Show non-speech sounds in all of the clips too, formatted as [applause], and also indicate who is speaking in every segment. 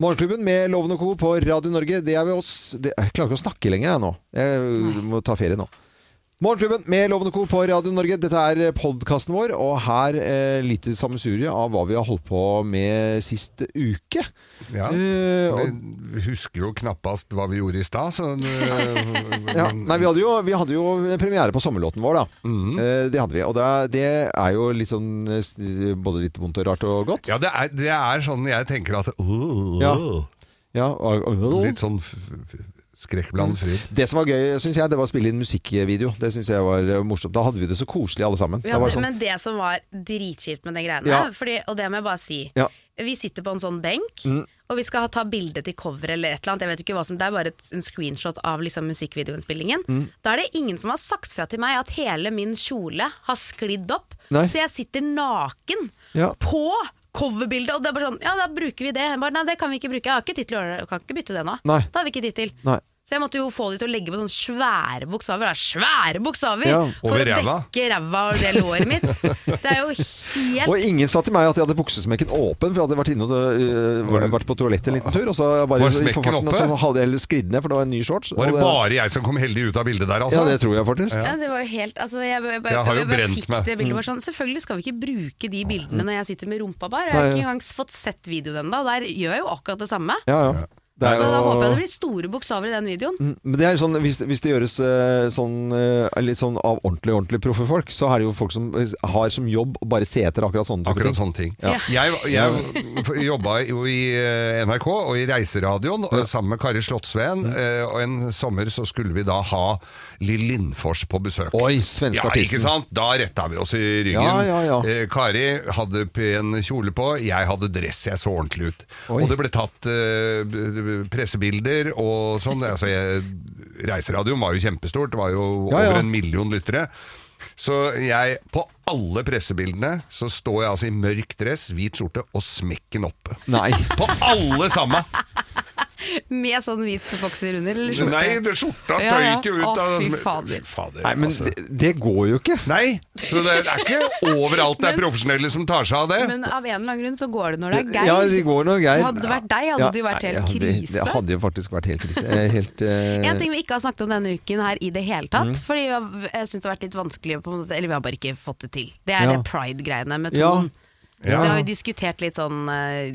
Speaker 1: Morgenklubben med Loven og Co. på Radio Norge. Det er vi oss det, Jeg klarer ikke å snakke lenger jeg nå. Jeg må ta ferie nå. Morgenklubben med Loven og Co. på Radio Norge. Dette er podkasten vår, og her eh, litt sammensurie av hva vi har holdt på med sist uke.
Speaker 2: Ja.
Speaker 1: Eh, og,
Speaker 2: Vi husker jo knappast hva vi gjorde i stad, så eh,
Speaker 1: [laughs] ja. Nei, vi hadde, jo, vi hadde jo premiere på sommerlåten vår, da. Eh, det hadde vi. Og det er, det er jo litt sånn eh, s- både litt vondt og rart og godt.
Speaker 2: Ja, det er, det er sånn jeg tenker at åh,
Speaker 1: Ja. Ja, og, og, Mm.
Speaker 2: Litt sånn f- f- skrekkblandet fryd.
Speaker 1: Det som var gøy, synes jeg, det var å spille inn musikkvideo. Det synes jeg var eh, morsomt. Da hadde vi det så koselig alle sammen.
Speaker 3: Vi
Speaker 1: det
Speaker 3: hadde,
Speaker 1: var sånn,
Speaker 3: Men det som var dritkjipt med den greia
Speaker 1: Ja.
Speaker 3: fordi, Og det må jeg bare si
Speaker 1: sånn- Ja.
Speaker 3: Vi sitter på en sånn benk
Speaker 1: Mm,
Speaker 3: Og vi skal ha, ta bilde til cover eller et eller annet Jeg vet ikke hva som, det er bare et, en screenshot av liksom, musikkvideoinnspillingen
Speaker 1: Mm.
Speaker 3: Da er det ingen som har sagt fra til meg At hele min kjole har sklidd opp
Speaker 1: Nei.
Speaker 3: Så jeg sitter naken
Speaker 1: Ja.
Speaker 3: På coverbildet Og det er bare sånn, ja da bruker vi det jeg bare, Nei, det kan vi ikke bruke, jeg har ikke tid til å gjøre det Jeg kan ikke bytte det nå
Speaker 1: Nei.
Speaker 3: Da har vi ikke tid til
Speaker 1: Nei.
Speaker 3: Så jeg måtte jo få de til å legge på sånne svære bokstaver da. Svære bokstaver
Speaker 1: Ja.
Speaker 3: For
Speaker 2: Over
Speaker 3: å dekke
Speaker 2: ræva.
Speaker 3: ikke ræva og det låret mitt. Det
Speaker 1: [laughs]
Speaker 3: er jo helt
Speaker 1: og ingen sa til meg at jeg hadde buksesmekken åpen, for jeg hadde vært, inne og, øh, vært på toalettet en liten tur. Og så bare
Speaker 2: Var
Speaker 1: i
Speaker 2: smekken
Speaker 1: forfarten, og
Speaker 2: oppe?
Speaker 1: så hadde jeg heller sklidd ned, for det var en ny shorts.
Speaker 2: Var
Speaker 1: og
Speaker 2: det bare jeg som kom heldig ut av bildet der, altså?
Speaker 1: Ja, det tror jeg faktisk.
Speaker 3: ja, det var jo helt altså, jeg, bare- bare-
Speaker 2: Jeg har jo
Speaker 3: bare
Speaker 2: brent
Speaker 3: fikk
Speaker 2: meg.
Speaker 3: Det
Speaker 1: Mm.
Speaker 3: bildet, bare sånn, selvfølgelig skal vi ikke bruke de bildene når jeg sitter med rumpa bar. og Jeg har
Speaker 1: Nei.
Speaker 3: ikke engang fått sett videoen ennå. Der gjør jeg jo akkurat det samme.
Speaker 1: Ja, ja. Det
Speaker 3: Så
Speaker 1: er
Speaker 3: da håper jeg det
Speaker 1: jo,
Speaker 3: blir store bokstaver i den videoen. [laughs]
Speaker 1: men det er sånn, hvis, hvis det gjøres eh, sånn, eh, litt sånn av ordentlig ordentlig proffe folk, så er det jo folk som eh, har som jobb å bare se etter akkurat sånne type
Speaker 2: Akkurat
Speaker 1: ting.
Speaker 2: sånne ting.
Speaker 3: Ja.
Speaker 2: Jeg, jeg jobba jo i eh, NRK og i Reiseradioen og sammen med Kari Slottsveen,
Speaker 1: Mm.
Speaker 2: eh, og en sommer så skulle vi da ha Lill Lindfors på besøk.
Speaker 1: Oi, svenske
Speaker 2: ja,
Speaker 1: artisten.
Speaker 2: ikke sant? Da retta vi oss i ryggen.
Speaker 1: Ja, ja, ja.
Speaker 2: Eh, Kari hadde pen kjole på, jeg hadde dress, jeg så ordentlig ut.
Speaker 1: Oi.
Speaker 2: Og det ble tatt eh, b- b- pressebilder og
Speaker 1: [laughs]
Speaker 2: sånn. Altså, jeg, reiseradioen var jo kjempestort, det var jo
Speaker 1: Ja, ja.
Speaker 2: over en million lyttere. Så jeg, på alle pressebildene, så står jeg altså i mørk dress, hvit skjorte og smekken oppe.
Speaker 1: Nei.
Speaker 2: [laughs] På alle sammen!
Speaker 3: Med sånn hvit bokser under, eller skjorte.
Speaker 2: Nei, det skjorta
Speaker 3: Ja, ja.
Speaker 2: tøyk jo ut
Speaker 3: Å,
Speaker 2: av
Speaker 3: fy fader.
Speaker 2: fader,
Speaker 1: Nei, men
Speaker 2: altså.
Speaker 1: det, det går jo ikke.
Speaker 2: Nei, så det er ikke overalt det er profesjonelle som tar seg av det.
Speaker 3: Men av en eller annen grunn så går det når det er Geir.
Speaker 1: Ja, det går nå, Geir.
Speaker 3: Hadde det vært deg, hadde
Speaker 1: Ja,
Speaker 3: det jo vært
Speaker 1: nei,
Speaker 3: helt
Speaker 1: ja, det-
Speaker 3: krise.
Speaker 1: Det hadde jo faktisk vært helt krise. Eh,
Speaker 3: [laughs]
Speaker 1: Helt, eh, Mm.
Speaker 3: En ting vi ikke har snakket om denne uken her i det hele tatt, fordi vi har- jeg syns det har vært litt vanskelig på en måte, Eller vi har bare ikke fått det til. Det er
Speaker 1: Ja.
Speaker 3: det pride-greiene med
Speaker 1: Ja.
Speaker 3: Trond.
Speaker 2: Ja.
Speaker 3: Det har vi diskutert litt sånn eh,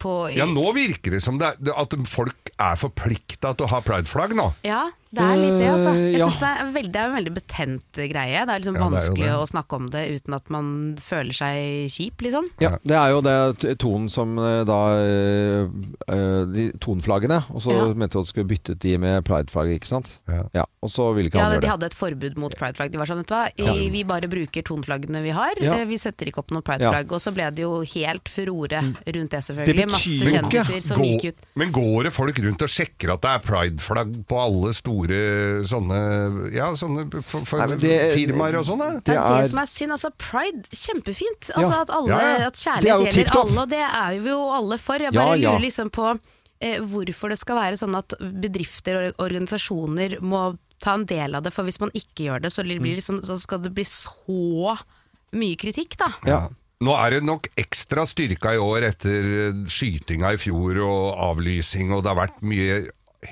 Speaker 3: på
Speaker 2: Ja, nå virker det som det er, at folk er forplikta til å ha prideflagg nå.
Speaker 3: Ja, det er litt det, altså.
Speaker 1: Øh,
Speaker 3: Jeg
Speaker 1: ja.
Speaker 3: synes det, er en veldig, det er en veldig betent greie. Det er liksom
Speaker 2: Ja, det er jo
Speaker 3: vanskelig
Speaker 2: det.
Speaker 3: å snakke om det uten at man føler seg kjip, liksom.
Speaker 1: Ja, det er jo det tonen som eh, da eh, eh, De tonflaggene. Og så
Speaker 3: Ja.
Speaker 1: mente vi at vi skulle bytte ut de med prideflagg, ikke sant?
Speaker 2: Ja.
Speaker 1: Og så ville ikke
Speaker 3: Ja,
Speaker 1: han
Speaker 3: De
Speaker 1: gjøre det.
Speaker 3: hadde et forbud mot prideflagg. De var sånn, vet du hva, i, vi bare bruker tonflaggene vi har,
Speaker 1: Ja.
Speaker 3: eh, vi setter ikke opp noe
Speaker 1: Ja. Mm.
Speaker 3: prideflagg. Og så ble det jo helt furore rundt det,
Speaker 1: Det
Speaker 3: selvfølgelig.
Speaker 1: betyr jo
Speaker 3: Masse
Speaker 1: ikke-
Speaker 3: kjendiser som
Speaker 2: Gå-
Speaker 3: gikk ut.
Speaker 2: Men går det folk rundt og sjekker at det er prideflagg på alle store sånne, ja, sånne f- f-
Speaker 1: Nei, men det-
Speaker 2: firmaer og sånn? da?
Speaker 3: Det er det
Speaker 1: er-
Speaker 3: som er synd. Altså, pride, kjempefint. Altså,
Speaker 1: Ja.
Speaker 3: At, alle,
Speaker 2: Ja, ja.
Speaker 3: at
Speaker 1: Det er jo
Speaker 3: kjærlighet
Speaker 1: tipp
Speaker 3: gjelder
Speaker 1: topp.
Speaker 3: alle, og det er vi jo alle for. Jeg
Speaker 1: Ja,
Speaker 3: bare
Speaker 1: ja.
Speaker 3: lurer liksom på eh, hvorfor det skal være sånn at bedrifter og organisasjoner må ta en del av det, for hvis man ikke gjør det, så, blir
Speaker 2: Mm.
Speaker 3: det liksom, så skal det bli så mye kritikk, da.
Speaker 1: Ja.
Speaker 2: Nå er det nok ekstra styrka i år etter skytinga i fjor og avlysing, og det har vært mye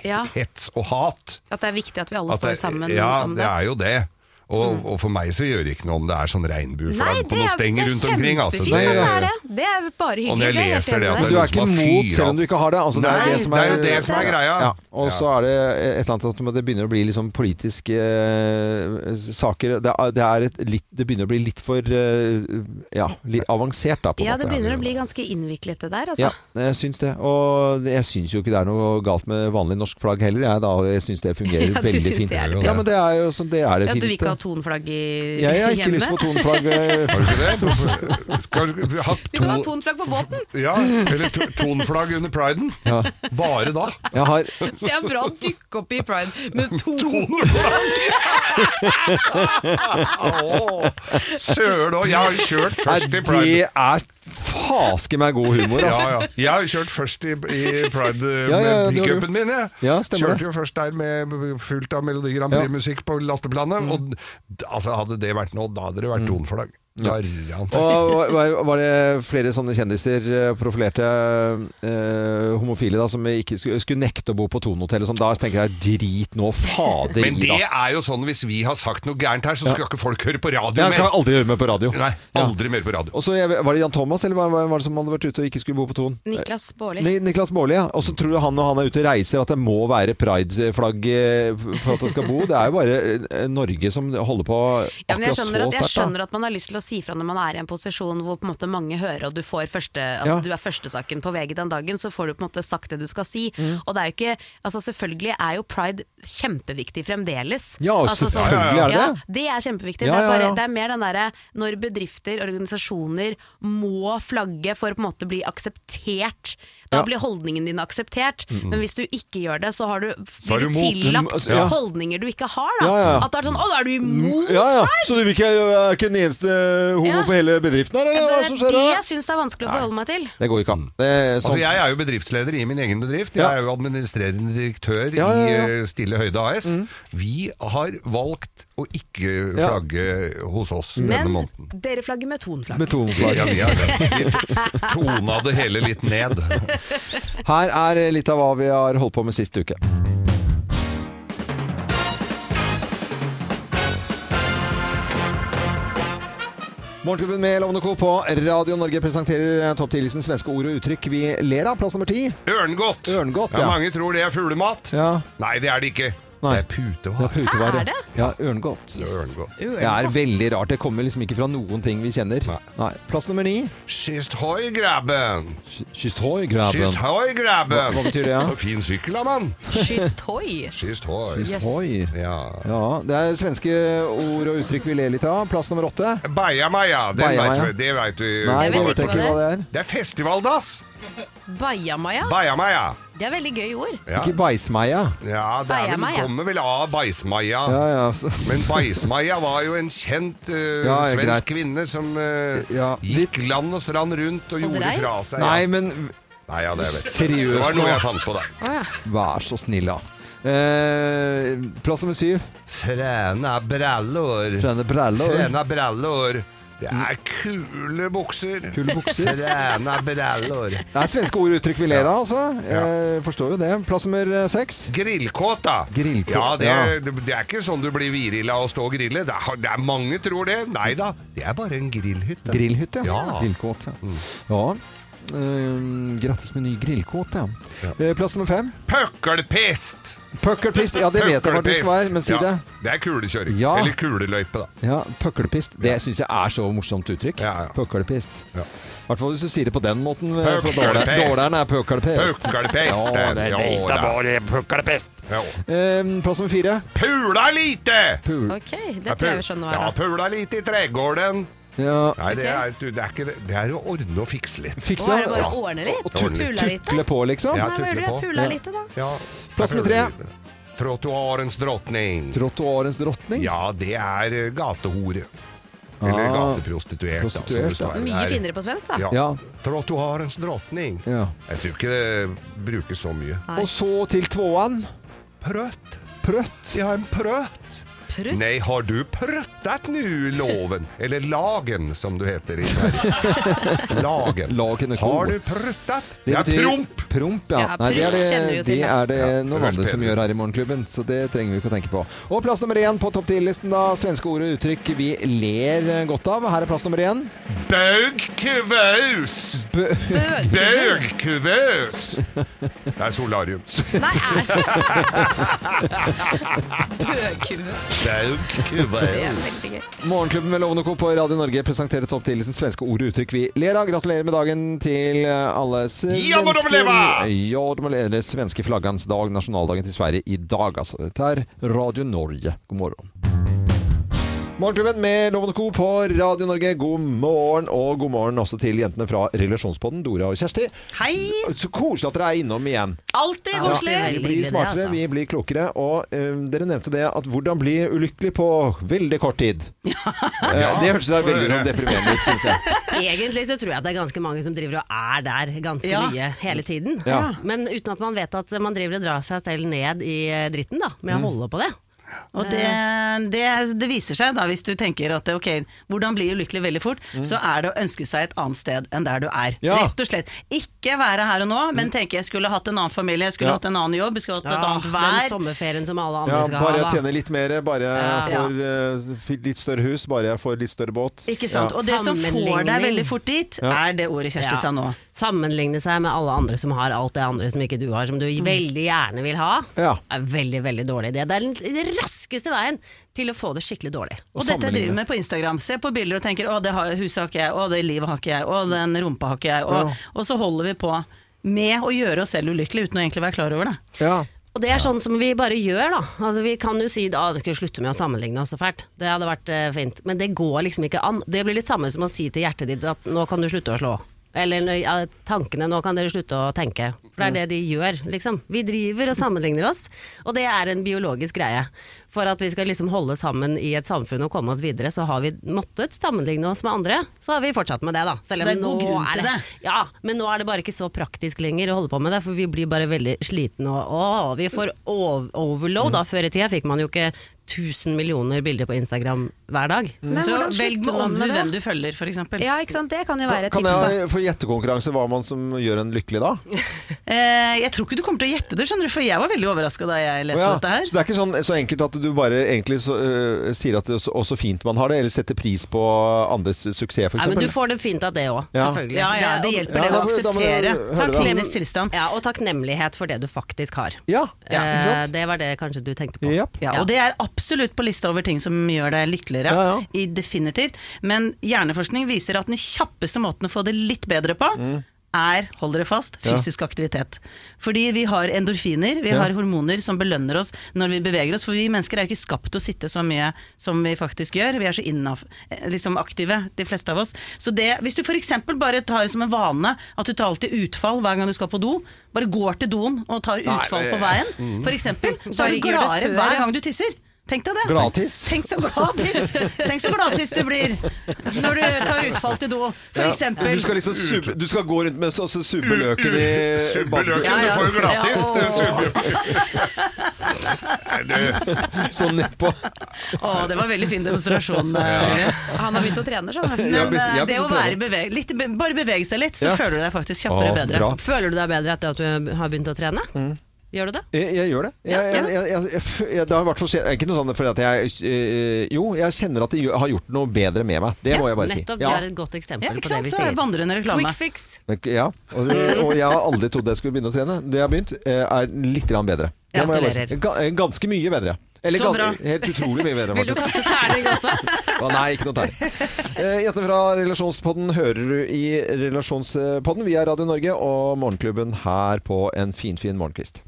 Speaker 3: Ja.
Speaker 2: hets og hat.
Speaker 3: At det er viktig at vi alle
Speaker 2: At det-
Speaker 3: står sammen
Speaker 2: ja,
Speaker 3: om
Speaker 2: det
Speaker 3: det. Mm.
Speaker 2: er jo det. Og, og for meg så gjør det ikke noe om det er sånn regnbueflagg
Speaker 3: Nei,
Speaker 2: på
Speaker 3: det
Speaker 2: noen
Speaker 3: er- det
Speaker 2: stenger
Speaker 3: er
Speaker 2: rundt omkring. Altså.
Speaker 3: kjempefint at det er det. Det er bare hyggelig.
Speaker 2: Og når jeg
Speaker 3: det er helt
Speaker 2: leser
Speaker 3: enig
Speaker 2: det at
Speaker 3: med deg.
Speaker 1: Men du
Speaker 2: noen
Speaker 1: er ikke
Speaker 2: som har
Speaker 1: mot
Speaker 2: fyra
Speaker 1: selv om
Speaker 2: opp.
Speaker 1: du ikke har det. Altså, det, er
Speaker 2: Nei,
Speaker 1: det, som
Speaker 2: det
Speaker 1: er,
Speaker 2: er jo det som er greia.
Speaker 1: Ja, og så er det et eller annet at det begynner å bli liksom politiske eh, saker det, er, det, er et litt, det begynner å bli litt for eh, ja, litt avansert, da, på
Speaker 3: Ja,
Speaker 1: en
Speaker 3: det
Speaker 1: måte.
Speaker 3: begynner å bli ganske innviklet, det der, altså.
Speaker 1: Ja, jeg syns det. Og jeg syns jo ikke det er noe galt med vanlig norsk flagg heller. Jeg, da. Jeg syns det
Speaker 3: [laughs]
Speaker 1: fungerer
Speaker 3: Ja, du
Speaker 1: veldig
Speaker 3: syns
Speaker 1: fint.
Speaker 3: det er
Speaker 2: det
Speaker 1: ja, men det er jo sånn, det er det
Speaker 3: Ja, du vil ikke
Speaker 2: [laughs]
Speaker 1: fineste.
Speaker 3: ha tonflagg i
Speaker 1: Jeg har
Speaker 3: [laughs]
Speaker 1: ikke
Speaker 3: hjemme?
Speaker 1: lyst på tonflagg. eh,
Speaker 2: Har du ikke det? Hvorfor- Kanskje vi har hatt
Speaker 3: [laughs] Du kan ha
Speaker 2: to-
Speaker 3: tonflagg på båten!
Speaker 2: Ja, eller to, tonflagg under priden.
Speaker 1: Ja.
Speaker 2: Bare da.
Speaker 1: Jeg har,
Speaker 3: Det er bra å dukke opp i pride med to
Speaker 2: Tonflagg! Åh, Søren òg. Jeg har jo kjørt
Speaker 1: nei,
Speaker 2: først i
Speaker 1: det
Speaker 2: pride.
Speaker 1: er faske meg god humor,
Speaker 2: [laughs] Ja,
Speaker 1: altså.
Speaker 2: ja. Jeg har jo kjørt først i, i pride eh,
Speaker 1: Ja, ja,
Speaker 2: med
Speaker 1: det var du.
Speaker 2: pickupen min. Jeg.
Speaker 1: Ja, stemmer det.
Speaker 2: Kjørte jo først der med fullt av Melodi Grand
Speaker 1: Ja. Mm.
Speaker 2: Prix-musikk på lasteplanet. Og d- altså, hadde det vært nå, da hadde det vært tonflagg. Garant.
Speaker 1: [laughs] Og var, var det flere sånne kjendiser, eh, profilerte eh, homofile, da, som ikke skulle, skulle nekte å bo på Tonehotell og sånn? Da tenker jeg drit nå, fader i,
Speaker 2: Men det
Speaker 1: da.
Speaker 2: er jo sånn hvis vi har sagt noe gærent her, så skal ikke folk høre på radio
Speaker 1: Jeg skal
Speaker 2: mer.
Speaker 1: aldri høre meg på radio.
Speaker 2: Nei, aldri mer på radio.
Speaker 1: Og så jeg- Var det Jan Thomas, eller hva- hva var det som hadde vært ute og ikke skulle bo på Ton?
Speaker 3: Niklas Baarli.
Speaker 1: Ni- Niklas Baarli, ja. Og så tror du han når han er ute og reiser at det må være prideflagg eh, for at han skal bo. Det er jo bare eh, Norge som holder på
Speaker 3: Ja, men jeg
Speaker 1: akkurat
Speaker 3: skjønner,
Speaker 1: så
Speaker 3: at, jeg
Speaker 1: sterkt. da.
Speaker 3: skjønner at man har lyst til å si fra når man er i en posisjon hvor på en måte mange hører og du får første
Speaker 1: Ja.
Speaker 3: Altså du er førstesaken på VG den dagen, så får du på en måte sagt det du skal si.
Speaker 1: Mm.
Speaker 3: Og det er jo ikke Altså selvfølgelig er jo pride kjempeviktig fremdeles.
Speaker 1: Ja, og
Speaker 3: altså, sånn-
Speaker 1: selvfølgelig er det
Speaker 3: Ja,
Speaker 1: det.
Speaker 3: det er kjempeviktig.
Speaker 1: Ja,
Speaker 3: det, er
Speaker 1: ja,
Speaker 3: bare,
Speaker 1: ja.
Speaker 3: det er mer den derre når bedrifter, organisasjoner må flagge for å på en måte bli akseptert. Da
Speaker 1: Ja.
Speaker 3: blir holdningen din akseptert, men hvis du ikke gjør det, så har du,
Speaker 2: er
Speaker 3: blir
Speaker 2: du
Speaker 3: du
Speaker 2: mot.
Speaker 3: tillagt
Speaker 1: Ja.
Speaker 3: holdninger du ikke har. Da.
Speaker 1: Ja, ja, ja. Mm.
Speaker 3: At det er sånn 'Å, da er du imot'.
Speaker 1: Ja, ja. Så du vil ikke, er ikke den eneste homo
Speaker 3: Ja.
Speaker 1: på hele bedriften her,
Speaker 3: Ja,
Speaker 1: eller hva som
Speaker 3: det
Speaker 1: skjer
Speaker 3: er det
Speaker 1: da?
Speaker 3: jeg syns er vanskelig å forholde meg til.
Speaker 1: Det går ikke an. Det er
Speaker 2: Altså,
Speaker 1: sånn-
Speaker 2: jeg er jo bedriftsleder i min egen bedrift. Jeg
Speaker 1: Ja.
Speaker 2: er jo administrerende direktør
Speaker 1: Ja, ja, ja.
Speaker 2: i eh, Stille Høyde AS. Vi har valgt å ikke
Speaker 1: Ja.
Speaker 2: flagge hos oss denne
Speaker 3: Men
Speaker 2: måneden.
Speaker 3: dere flagger med tonflagg.
Speaker 1: med toneflagg.
Speaker 2: Ja, vi har det. Vi tona det hele litt ned.
Speaker 1: Her er litt av hva vi har holdt på med sist uke. Morgenklubben med Lovende Co. på Radio Norge presenterer eh, topp 10-listen svenske ord og uttrykk vi ler av. Plass nummer ti.
Speaker 2: Ørngodt.
Speaker 1: Ørngodt,
Speaker 2: ja.
Speaker 1: ja.
Speaker 2: Mange tror det er fuglemat.
Speaker 1: Ja.
Speaker 2: Nei, det er det ikke.
Speaker 1: Nei.
Speaker 2: Det er putevar.
Speaker 1: putevar,
Speaker 3: Hæ, Ah,
Speaker 1: ja.
Speaker 3: er det?
Speaker 1: Ja, ørngodt.
Speaker 2: Det er Ørngodt.
Speaker 1: Det er veldig rart. Det kommer liksom ikke fra noen ting vi kjenner.
Speaker 2: Nei.
Speaker 1: Nei. Plass nummer ni.
Speaker 2: Schist hoi, grabben.
Speaker 1: Kyst hoi, graben.
Speaker 2: Schist hoi, grabben.
Speaker 1: Hva betyr det, ja?
Speaker 2: Så Fin sykkel, da, mann.
Speaker 3: Kyss toy.
Speaker 2: Schist hoi.
Speaker 3: Yes.
Speaker 1: Hoi.
Speaker 2: Ja.
Speaker 1: Ja, det er svenske ord og uttrykk vi ler litt av. Plass nummer åtte.
Speaker 2: Bajamaja, det
Speaker 1: Bajamaja.
Speaker 2: veit vi. Det vet vi.
Speaker 1: Nei,
Speaker 3: Jeg
Speaker 1: det
Speaker 3: vet
Speaker 1: vet jeg
Speaker 3: ikke
Speaker 1: ikke
Speaker 3: hva
Speaker 1: hva det er.
Speaker 2: Det er festivaldass!
Speaker 3: [laughs] Bajamaja.
Speaker 2: Bajamaja.
Speaker 3: Det er veldig gøy ord.
Speaker 2: Ja.
Speaker 1: Ikke bæsmeia.
Speaker 2: Ja, det er vel,
Speaker 3: Bajamaja.
Speaker 2: kommer vel av bajsmaja.
Speaker 1: Ja, ja. så-
Speaker 2: Men bajsmaja var jo en kjent
Speaker 1: Ja,
Speaker 2: eh,
Speaker 1: ja, greit.
Speaker 2: svensk kvinne som eh,
Speaker 1: Ja.
Speaker 2: gikk land og strand rundt og,
Speaker 3: Og
Speaker 2: gjorde
Speaker 3: dreit?
Speaker 2: fra seg.
Speaker 1: Nei,
Speaker 2: Altså, ja.
Speaker 1: men
Speaker 2: Nei ja, det, er vel-
Speaker 1: Seriøst
Speaker 2: det var
Speaker 1: nå?
Speaker 2: noe jeg fant på der.
Speaker 1: vær så snill, da. Eh, plass nummer syv.
Speaker 2: Fræna brallor.
Speaker 1: Trene briller.
Speaker 2: Fræna brallor. Det er kule bukser.
Speaker 1: Kule bukser.
Speaker 2: Fræna brallor.
Speaker 1: Det er svenske ord og uttrykk vi ler av, altså. Jeg forstår jo det. Plass nummer eh, seks.
Speaker 2: Grillkåt, da.
Speaker 1: Grillkåt,
Speaker 2: ja, det,
Speaker 1: ja.
Speaker 2: Det, det er ikke sånn du blir viril av å stå og grille. Det er, det er mange tror det. Nei da, det er bare en grillhytte.
Speaker 1: Grillhytte, ja.
Speaker 2: Ja. Mm.
Speaker 1: Grillkåt, ja. ja. Eh, grattis med ny grillkåt, ja. Eh, plass nummer fem.
Speaker 2: Pøkkelpest!
Speaker 1: Pøkkelpist. Ja, det vet jeg faktisk hva er, men si det.
Speaker 2: Ja, det er kulekjøring.
Speaker 1: Ja.
Speaker 2: Eller kuleløype, da.
Speaker 1: Ja, Pøkkelpist. Det syns jeg er så morsomt uttrykk.
Speaker 2: Ja, ja.
Speaker 1: Pøkkelpist. I
Speaker 2: Ja.
Speaker 1: hvert fall hvis du sier det på den måten. eh, for dårlig-
Speaker 2: Pøkkelpist.
Speaker 1: Dårligeren er pøkkelpist.
Speaker 2: Pøkkelpest!
Speaker 1: Ja, det er
Speaker 2: Ja,
Speaker 1: ikke
Speaker 2: da.
Speaker 4: puckelpest.
Speaker 2: Ja.
Speaker 1: Eh, plass nummer fire.
Speaker 2: Pula lite!
Speaker 1: Pul.
Speaker 3: Ok, det tror jeg vi skjønner hva
Speaker 2: Ja,
Speaker 3: er. da.
Speaker 2: pula lite i tregården.
Speaker 1: Ja,
Speaker 2: Nei, det
Speaker 3: Ok.
Speaker 2: er, du, det er ikke det. Det er å ordne og fikse litt.
Speaker 1: fikse
Speaker 3: Å, er det bare
Speaker 1: ja.
Speaker 3: å ordne litt?
Speaker 2: Ordne litt.
Speaker 3: Pula litt?
Speaker 1: Tukle på, liksom.
Speaker 2: Ja.
Speaker 3: Nei, hva gjør du?
Speaker 2: tukle på.
Speaker 3: Jeg pula litt, da.
Speaker 2: Ja.
Speaker 1: Plass med tre.
Speaker 2: Trottoarens drottning.
Speaker 1: Trottoarens drottning.
Speaker 2: Ja, det er eh, gatehore. Eller
Speaker 1: Ah.
Speaker 2: gateprostituert. altså, da, som det
Speaker 1: Prostituert,
Speaker 2: står
Speaker 1: ja.
Speaker 2: her.
Speaker 3: Mye finere på svensk, da.
Speaker 2: Ja.
Speaker 1: Ja.
Speaker 2: Trottoarens drottning.
Speaker 1: Ja.
Speaker 2: Jeg tror ikke det brukes så mye.
Speaker 3: Nei.
Speaker 1: Og så til tvåan.
Speaker 2: Prøtt.
Speaker 1: Prøtt.
Speaker 2: Jeg har en prøtt.
Speaker 3: Prutt.
Speaker 2: Nei, har du prøttet nu, loven?
Speaker 3: [laughs]
Speaker 2: Eller lagen, som du heter i
Speaker 3: [laughs]
Speaker 2: Sverige. Lagen.
Speaker 1: Lagen og ko.
Speaker 2: Har du prøttet? Det er promp!
Speaker 1: Promp, ja.
Speaker 3: Ja,
Speaker 1: Nei, det er
Speaker 3: promp kjenner
Speaker 1: det,
Speaker 3: vi jo til,
Speaker 1: det,
Speaker 3: ja.
Speaker 1: er det
Speaker 2: Ja,
Speaker 1: noen
Speaker 2: det høres
Speaker 1: andre som
Speaker 2: bedre
Speaker 1: gjør her i Morgenklubben, så det trenger vi ikke å tenke på. Og plass nummer én på topp 10-listen, da. Svenske ord og uttrykk vi ler eh, godt av. Her er plass nummer én.
Speaker 2: Bøgkuvøs!
Speaker 3: Bøg.
Speaker 2: Bøgkuvøs! Det er solarium.
Speaker 3: Nei, er Bøgkube. Det er
Speaker 2: Bøgkuvøs.
Speaker 3: veldig gøy.
Speaker 1: Morgenklubben med Lovende Co. på Radio Norge presenterer topp 10-listen svenske ord og uttrykk vi ler av. Gratulerer med dagen til eh, alle svensker.
Speaker 2: [laughs] Ja, må de leva!
Speaker 1: Ja, de må leve! Svenske flaggans dag, nasjonaldagen til Sverige i dag, altså. Dette er Radio Norge. God morgen. Morgenklubben med Lovende Co. på Radio Norge, god morgen. Og god morgen også til jentene fra Relasjonspodden, Dora og Kjersti.
Speaker 5: Hei!
Speaker 1: Så koselig at dere er innom igjen.
Speaker 5: Alltid koselig!
Speaker 3: Ja.
Speaker 1: Vi
Speaker 3: Veldig
Speaker 1: blir
Speaker 3: hyggelig det,
Speaker 1: smartere,
Speaker 3: altså.
Speaker 1: vi blir klokere. Og eh, dere nevnte det at hvordan bli ulykkelig på veldig kort tid. Eh, det hørtes da veldig sånn deprimerende ut, syns jeg.
Speaker 6: Egentlig så tror jeg at det er ganske mange som driver og er der ganske
Speaker 5: Ja.
Speaker 6: mye hele tiden.
Speaker 1: Ja.
Speaker 6: Men uten at man vet at man driver og drar seg selv ned i eh, dritten da, med å holde på det.
Speaker 4: Og det, Eh, det, det viser seg da, hvis du tenker at ok, hvordan bli ulykkelig veldig fort, så er det å ønske seg et annet sted enn der du er.
Speaker 1: Ja. Mm.
Speaker 4: Rett og slett. Ikke være her og nå, men tenke jeg skulle hatt en annen familie, jeg skulle
Speaker 1: Ja.
Speaker 4: hatt en annen jobb, jeg skulle hatt et
Speaker 6: Ja,
Speaker 4: annet
Speaker 6: den
Speaker 4: vær.
Speaker 6: sommerferien som alle andre
Speaker 1: Ja,
Speaker 6: skal
Speaker 1: bare
Speaker 6: ha.
Speaker 1: jeg
Speaker 6: da.
Speaker 1: tjener litt mer, bare jeg
Speaker 4: Ja.
Speaker 1: får eh, f- litt større hus, bare jeg får litt større båt.
Speaker 4: Ikke sant?
Speaker 1: Ja.
Speaker 4: Og det som får deg
Speaker 6: Sammenligning.
Speaker 4: veldig fort dit,
Speaker 1: Ja.
Speaker 4: er det ordet Kjersti sa nå.
Speaker 6: Sammenligne seg med alle andre som har alt det andre som ikke du har, som du
Speaker 4: Mm.
Speaker 6: veldig gjerne vil ha,
Speaker 1: Ja.
Speaker 6: er veldig, veldig dårlig idé. Det er den raskeste veien til å få det skikkelig dårlig.
Speaker 1: Og
Speaker 4: Og dette
Speaker 1: sammenligne.
Speaker 4: driver vi med på Instagram. Se på bilder og tenker 'å, det har- huset har ikke jeg', 'å, det livet har ikke jeg', 'å, den rumpa har ikke jeg', og, og så holder vi på med å gjøre oss selv ulykkelige uten å egentlig være klar over det.
Speaker 1: Ja.
Speaker 6: Og det er sånn som vi bare gjør, da. Altså, vi kan jo si at ah, skal vi slutte med å sammenligne oss så fælt. Det hadde vært eh, fint. Men det går liksom ikke an. Det blir litt samme som å si til hjertet ditt at nå kan du slutte å slå. Eller ja, tankene, nå kan dere slutte å tenke. For det er det de gjør, liksom. Vi driver og sammenligner oss, og det er en biologisk greie. For at vi skal liksom holde sammen i et samfunn og komme oss videre, så har vi måttet sammenligne oss med andre. Så har vi fortsatt med det, da. Selv om
Speaker 4: Så det er god
Speaker 6: nå
Speaker 4: grunn til det.
Speaker 6: ja, men nå er det bare ikke så praktisk lenger å holde på med det, for vi blir bare veldig slitne og å, vi får ov- overload. Da før i tida fikk man jo ikke 1000 millioner bilder på Instagram hver dag.
Speaker 3: Men
Speaker 4: Mm. så
Speaker 3: hvordan
Speaker 4: velg med
Speaker 3: slutter man
Speaker 4: omhu
Speaker 3: med det?
Speaker 4: hvem du følger, for eksempel.
Speaker 3: Ja, ikke sant? Det kan jo være et
Speaker 1: Kan
Speaker 3: tips, da.
Speaker 1: jeg få gjettekonkurranse hva man som gjør en lykkelig da?
Speaker 4: Eh, jeg tror ikke du kommer til å gjette det, skjønner du, for jeg var veldig overraska da jeg leste
Speaker 1: Å ja,
Speaker 4: dette her.
Speaker 1: Så det er ikke sånn, så enkelt at du bare egentlig så, øh, sier at det er så, og så fint man har det, eller setter pris på andres suksess, f.eks.?
Speaker 6: Nei, men du får det fint av det òg,
Speaker 1: Ja.
Speaker 6: selvfølgelig.
Speaker 4: Ja, ja, det hjelper det
Speaker 1: Ja,
Speaker 4: å
Speaker 1: da må- da må du
Speaker 4: akseptere
Speaker 1: høre
Speaker 6: det, da.
Speaker 4: tingenes tilstand.
Speaker 6: Ja, og takknemlighet for det du faktisk har.
Speaker 1: Ja, ja, ikke
Speaker 6: Eh,
Speaker 1: sant?
Speaker 6: det var det kanskje du tenkte på.
Speaker 1: Japp.
Speaker 4: Ja, og det er absolutt på lista over ting som gjør deg lykkeligere.
Speaker 1: Ja, ja.
Speaker 4: I definitivt. Men hjerneforskning viser at den kjappeste måten å få det litt bedre på,
Speaker 1: Mm.
Speaker 4: er, hold dere fast, fysisk aktivitet. Fordi vi har endorfiner, vi har hormoner som belønner oss når vi beveger oss. For vi mennesker er jo ikke skapt til å sitte så mye som vi faktisk gjør. Vi er så innaf eh, liksom aktive, de fleste av oss. Så det, hvis du f.eks. bare tar det som en vane at du tar alltid utfall hver gang du skal på do, bare går til doen og tar utfall
Speaker 1: eh,
Speaker 4: på veien,
Speaker 1: mm.
Speaker 4: f.eks.,
Speaker 3: [laughs]
Speaker 4: så
Speaker 3: Bare
Speaker 4: er du
Speaker 3: gjør det
Speaker 4: gladere
Speaker 3: før,
Speaker 4: hver
Speaker 3: ja.
Speaker 4: gang du tisser. Tenk deg det.
Speaker 1: Gladtiss.
Speaker 4: Tenk så gladtiss Tenk så gladtiss du blir når du tar utfall til do,
Speaker 1: Ja.
Speaker 4: f.eks.
Speaker 1: Du skal liksom sube, du skal gå rundt med og subbe løken i
Speaker 2: Subbe
Speaker 1: badebuksene.
Speaker 2: løken,
Speaker 4: Ja,
Speaker 2: du
Speaker 4: ja.
Speaker 2: får jo gratis.
Speaker 4: Ja,
Speaker 2: du
Speaker 4: åh.
Speaker 2: subber- Nei, du,
Speaker 1: Sånn nedpå.
Speaker 4: Å, det var veldig fin demonstrasjon. eh.
Speaker 3: Han har begynt å trene, skjønner du.
Speaker 1: Ja.
Speaker 4: Men
Speaker 1: Jeg begynte-
Speaker 4: eh,
Speaker 1: jeg
Speaker 4: det å
Speaker 1: begynte å
Speaker 4: være
Speaker 1: trene.
Speaker 4: beveg, litt, be- bare bevege seg litt, så
Speaker 1: Ja.
Speaker 4: føler du deg faktisk
Speaker 1: Å,
Speaker 4: kjappere og bedre.
Speaker 1: bra. Mm.
Speaker 6: Føler du deg bedre etter at du har begynt å trene? Gjør du det?
Speaker 1: Jeg, jeg gjør det. Jeg, jeg, jeg, jeg, f- jeg, det har vært så sent, ikke noe sånn fordi at jeg eh, Jo, jeg kjenner at det gjør- har gjort noe bedre med meg. Det må jeg bare si.
Speaker 6: Nettopp,
Speaker 1: Ja.
Speaker 6: det er et godt eksempel
Speaker 4: Ja,
Speaker 6: på
Speaker 4: ikke
Speaker 6: det
Speaker 4: sant?
Speaker 6: vi
Speaker 4: Så er
Speaker 6: sier.
Speaker 4: vandrende reklame.
Speaker 6: Quick fix.
Speaker 1: Men- Ja, og, og jeg har aldri trodd jeg skulle begynne å trene. Det jeg har begynt, eh, er litt grann bedre. Det må jeg bare si.
Speaker 6: Gratulerer.
Speaker 1: Ga- eh, Ganske mye bedre. Eller
Speaker 4: Så
Speaker 1: gan-
Speaker 4: bra.
Speaker 1: helt utrolig mye
Speaker 6: [laughs]
Speaker 1: bedre,
Speaker 6: Vil du
Speaker 1: faktisk.
Speaker 6: kaste terning også?
Speaker 1: [laughs] Å, nei, ikke noe tegn. Eh, Jenter fra Relasjonspodden hører du i Relasjonspodden. Vi er Radio Norge og Morgenklubben her på en finfin fin morgenkvist.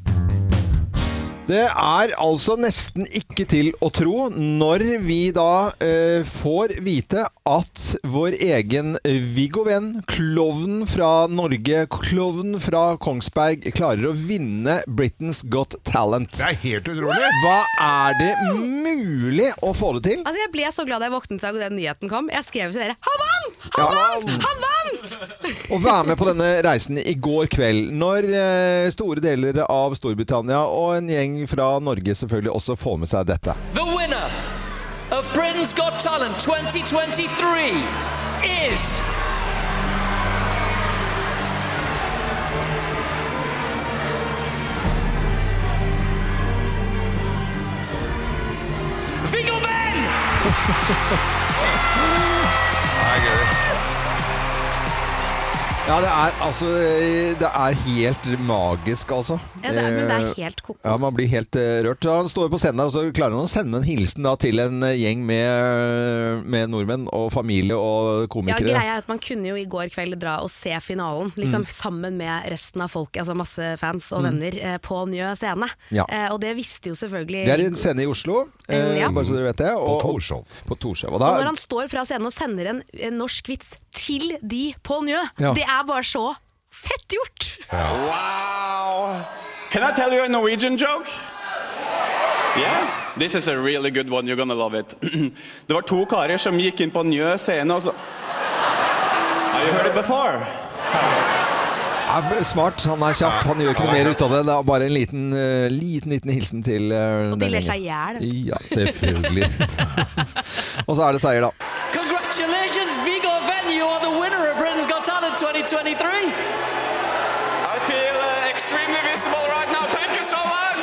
Speaker 1: Det er altså nesten ikke til å tro når vi da eh, får vite at vår egen Viggo Venn, klovnen fra Norge, klovnen fra Kongsberg, klarer å vinne Britain's Got Talent.
Speaker 2: det er helt utrolig.
Speaker 1: Hva er det mulig å få det til?
Speaker 3: Altså, jeg ble så glad da jeg våknet i dag og den nyheten kom. Jeg skrev til dere 'Han vant! Han
Speaker 1: Ja.
Speaker 3: vant! Han vant!'
Speaker 1: Å være med på denne reisen i går kveld, når eh, store deler av Storbritannia og en gjeng fra Norge selvfølgelig også får med seg dette.
Speaker 5: The winner of Britain's Got Talent 2023 is. Viggo
Speaker 7: [laughs]
Speaker 5: Venn!
Speaker 2: Nei, gøy.
Speaker 1: Ja, det er altså eh, Det er helt magisk, altså.
Speaker 3: Ja, det er, men det er
Speaker 1: Eh,
Speaker 3: helt
Speaker 1: ja,
Speaker 3: ko-ko.
Speaker 1: man blir helt eh, rørt. Så Han står på scenen der, og så klarer han å sende en hilsen da, til en eh, gjeng med, med nordmenn og familie og
Speaker 3: [laughs] Ja,
Speaker 1: komikere.
Speaker 3: greia er at Man kunne jo i går kveld dra og se finalen,
Speaker 1: Mm.
Speaker 3: liksom sammen med resten av folket, altså masse fans og venner, eh, på Njø scene.
Speaker 1: Ja.
Speaker 3: Eh, og det visste jo selvfølgelig
Speaker 1: det er en scene i Oslo, eh,
Speaker 3: Ja.
Speaker 1: bare så dere vet det. og-
Speaker 2: På Torshov.
Speaker 1: På Torshov. Og
Speaker 3: Og
Speaker 1: da
Speaker 3: når han står fra scenen og sender en, en norsk vits til de på Njø,
Speaker 1: Ja.
Speaker 3: det er bare så fett gjort!
Speaker 7: Wow. Can I tell you a Norwegian joke? Yeah, this is a really good one. You're gonna love it. [clears throat] Det var to karer som gikk inn på Njø scene og så Have you heard it before?
Speaker 1: er smart, han er kjapp. Han gjør ikke noe mer ut av det. Det er bare en liten, eh, liten, liten hilsen til eh,
Speaker 3: Og de
Speaker 1: den
Speaker 3: ler seg
Speaker 1: gjengen.
Speaker 3: i hjel.
Speaker 1: Ja, selvfølgelig. [laughs] og så er det seier, da.
Speaker 5: Congratulations, Vigo Venn, you are the winner of Britain's Got Talent 2023.
Speaker 7: I feel uh, extremely visible right now. Thank you so much.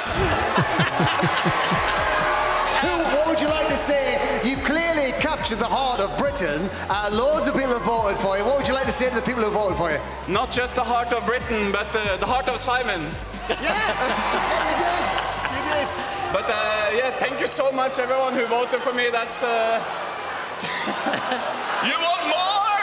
Speaker 8: What would you like to say? You've clearly captured the heart of Britain. Uh, loads of people have voted for you. What would you like to say to the people who voted for you?
Speaker 7: Not just the heart of Britain, but uh, the heart of Simon. But uh, yeah, thank you so much, everyone who voted for me. That's. Uh... [laughs] you want more?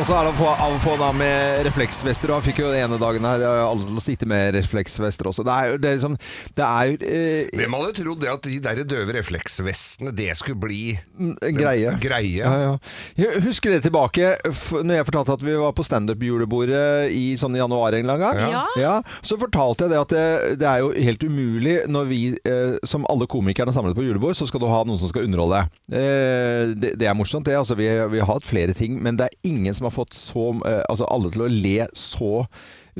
Speaker 1: Og så er det på, av og på da med refleksvester. Og han fikk jo den ene dagen her eh, alle til å sitte med refleksvester også. Det er jo det er liksom Det er jo eh,
Speaker 2: Hvem hadde trodd det at de der døve refleksvestene, det skulle bli
Speaker 1: en Mm, greie.
Speaker 2: greie?
Speaker 1: Ja, ja. Jeg husker det tilbake f- når jeg fortalte at vi var på standup-julebordet i sånn i januar en eller annen gang.
Speaker 3: Ja.
Speaker 1: så fortalte jeg det at det, det er jo helt umulig når vi, eh, som alle komikerne samlet på julebord, så skal du ha noen som skal underholde. Eh, det, det er morsomt, det. Altså, vi, vi har hatt flere ting, men det er ingen som har fått så eh, Altså alle til å le så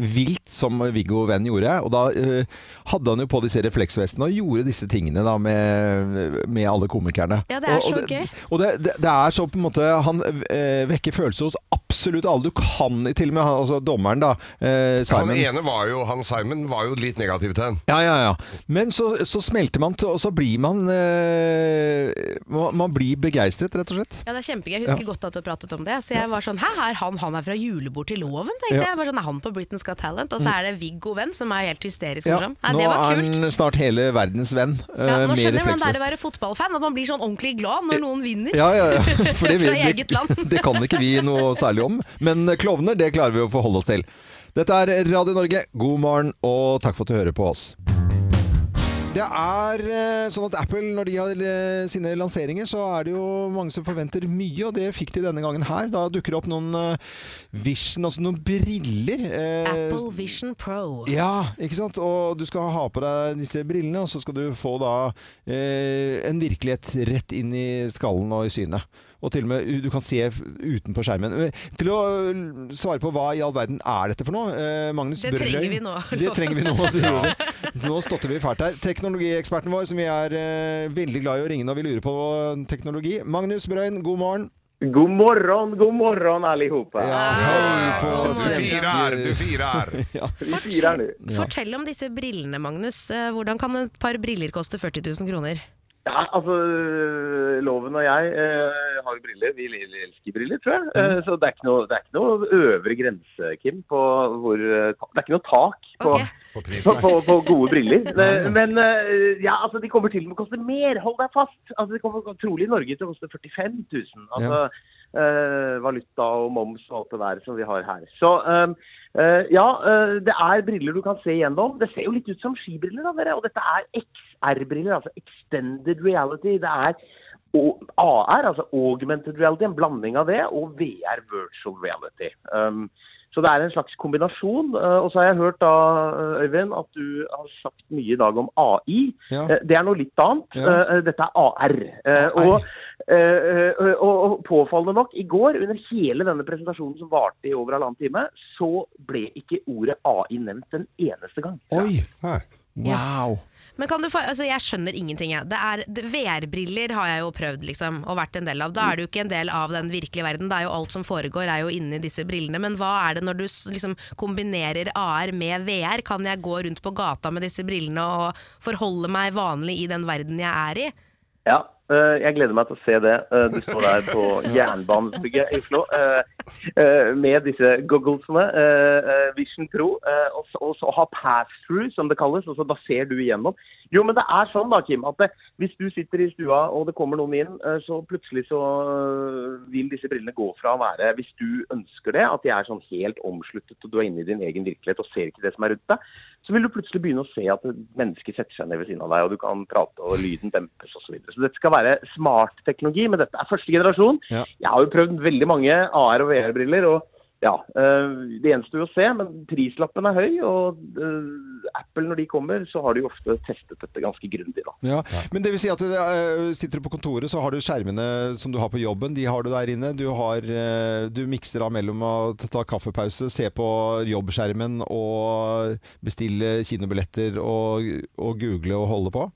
Speaker 1: vilt som Viggo Venn gjorde. Og da eh, hadde han jo på disse refleksvestene og gjorde disse tingene da med, med alle komikerne.
Speaker 3: Ja, det er
Speaker 1: Og- og
Speaker 3: så gøy.
Speaker 1: og det, det, det er så på en måte Han eh, vekker følelser hos absolutt alle. Du kan til og med han- altså dommeren, da. Eh,
Speaker 2: Han
Speaker 1: Simon.
Speaker 2: ene var jo, han Simon var jo litt negativ til henne.
Speaker 1: Ja, ja, ja. Men så, så smelter man til, og så blir man eh, Man man blir begeistret, rett og slett.
Speaker 3: Ja, det er kjempegøy. Jeg husker godt at du har pratet om det. Så jeg var sånn Hæ, er han, han er fra julebord til loven? tenkte
Speaker 1: Ja. Mm.
Speaker 3: jeg. Bare sånn, Er han på Britain's Got Talent? Og så er det Viggo Venn, som er helt hysterisk
Speaker 1: Ja,
Speaker 3: morsom. Nei,
Speaker 1: nå
Speaker 3: det var
Speaker 1: er
Speaker 3: kult.
Speaker 1: han snart hele verdens venn eh,
Speaker 3: Ja, nå
Speaker 1: med
Speaker 3: skjønner jeg hvordan det er å
Speaker 1: refleksvest.
Speaker 3: være fotballfan. At man blir sånn ordentlig glad når noen vinner.
Speaker 1: Ja, ja,
Speaker 3: [laughs]
Speaker 1: ja. For det,
Speaker 3: Fra
Speaker 1: vi,
Speaker 3: eget
Speaker 1: det,
Speaker 3: land.
Speaker 1: [laughs] det kan ikke vi noe særlig om. Men eh, klovner, det klarer vi å forholde oss til. Dette er Radio Norge. God morgen, og takk for at du hører på oss. Det er eh, sånn at Apple, når de har eh, sine lanseringer, så er det jo mange som forventer mye, og det fikk de denne gangen her. Da dukker det opp noen eh, Vision, altså noen briller. eh,
Speaker 6: Apple Vision Pro.
Speaker 1: ja, ikke sant? Og du skal ha på deg disse brillene, og så skal du få da eh, en virkelighet rett inn i skallen og i synet. Og til og med u- du kan se f- utenpå skjermen. Eh, Til å l- svare på hva i all verden er dette for noe, eh, Magnus
Speaker 3: Det
Speaker 1: Brønløy.
Speaker 3: trenger vi nå,
Speaker 1: Det
Speaker 3: [laughs]
Speaker 1: trenger vi nå. du gjorde det. Nå stotter vi fælt her. Teknologieksperten vår, som vi er eh, veldig glad i å ringe når vi lurer på teknologi. Magnus Brøyn, god morgen.
Speaker 9: God morgon, god morgon allihopa.
Speaker 3: Ah,
Speaker 1: hei på
Speaker 2: Du firer, du firer!
Speaker 9: Vi firar nu.
Speaker 3: Fortell om disse brillene, Magnus. Eh, Hvordan kan et par briller koste 40 000 kroner?
Speaker 9: Ja, altså, Loven og jeg eh, har jo briller. Vi el- elsker briller, tror jeg. Eh, så det er, ikke noe, det er ikke noe øvre grense, Kim, på hvor eh, ta- Det er ikke noe tak på,
Speaker 3: Ok.
Speaker 9: [laughs]
Speaker 2: På
Speaker 9: på,
Speaker 2: prisen her.
Speaker 9: på, på gode
Speaker 2: [laughs]
Speaker 9: briller. Det- Men eh, ja, altså, de kommer til og med å koste mer. Hold deg fast! Altså, De kommer trolig i Norge til å koste 45 000. Altså, eh, valuta og moms og alt det der som vi har her. Så ehm, eh, ja, eh, det er briller du kan se gjennom. Det ser jo litt ut som skibriller, da, dere. Og dette er XR-briller, altså extended reality. Det er o- AR, altså augmented reality, en blanding av det, og VR, virtual reality. Ehm, så det er en slags kombinasjon. eh, og så har jeg hørt da, eh, Øyvind, at du har sagt mye i dag om AI.
Speaker 1: Ja.
Speaker 9: Eh, det er noe litt annet.
Speaker 1: Ja.
Speaker 9: Eh, dette er AR. Eh,
Speaker 1: Nei.
Speaker 9: og, eh, eh, og, og påfallende nok, i går under hele denne presentasjonen som varte i over halvannen time, så ble ikke ordet AI nevnt en eneste gang.
Speaker 1: Oi,
Speaker 2: Her.
Speaker 1: wow.
Speaker 3: Men kan du få, altså jeg skjønner ingenting. Jeg. Det er, det- VR-briller har jeg jo prøvd liksom, og vært en del av. Da er du ikke en del av den virkelige verden. Det er jo alt som foregår er jo inni disse brillene. Men hva er det når du s- liksom, kombinerer AR med VR? Kan jeg gå rundt på gata med disse brillene og forholde meg vanlig i den verden jeg er i?
Speaker 9: Ja, eh, jeg gleder meg til å se det. Eh, Du står der
Speaker 1: [laughs]
Speaker 9: på Jernbanebygget i Oslo eh, eh, med disse gogglesene, eh, eh, Vision Pro, eh, og så- og så ha pass-through, som det kalles, og så da ser du igjennom. Jo, men det er sånn da, Kim, at det, hvis du sitter i stua og det kommer noen inn, eh, så plutselig så eh, vil disse brillene gå fra å være, hvis du ønsker det, at de er sånn helt omsluttet og du er inne i din egen virkelighet og ser ikke det som er rundt deg, så vil du plutselig begynne å se at mennesker setter seg ned ved siden av deg, og du kan prate, og lyden dempes osv. Så, videre. så dette skal være smart teknologi, men dette er første generasjon.
Speaker 1: Ja.
Speaker 9: Jeg har jo prøvd veldig mange AR- og VR-briller, og ja, eh, det gjenstår jo å se, men prislappen er høy. Og eh, Apple, når de kommer, så har de jo ofte testet dette ganske grundig, da.
Speaker 1: Ja. Men det vil si at eh, sitter du på kontoret, så har du skjermene som du har på jobben, de har du der inne. Du, har, eh, du mikser av mellom å ta kaffepause, se på jobbskjermen og bestille kinobilletter og, og google og holde på.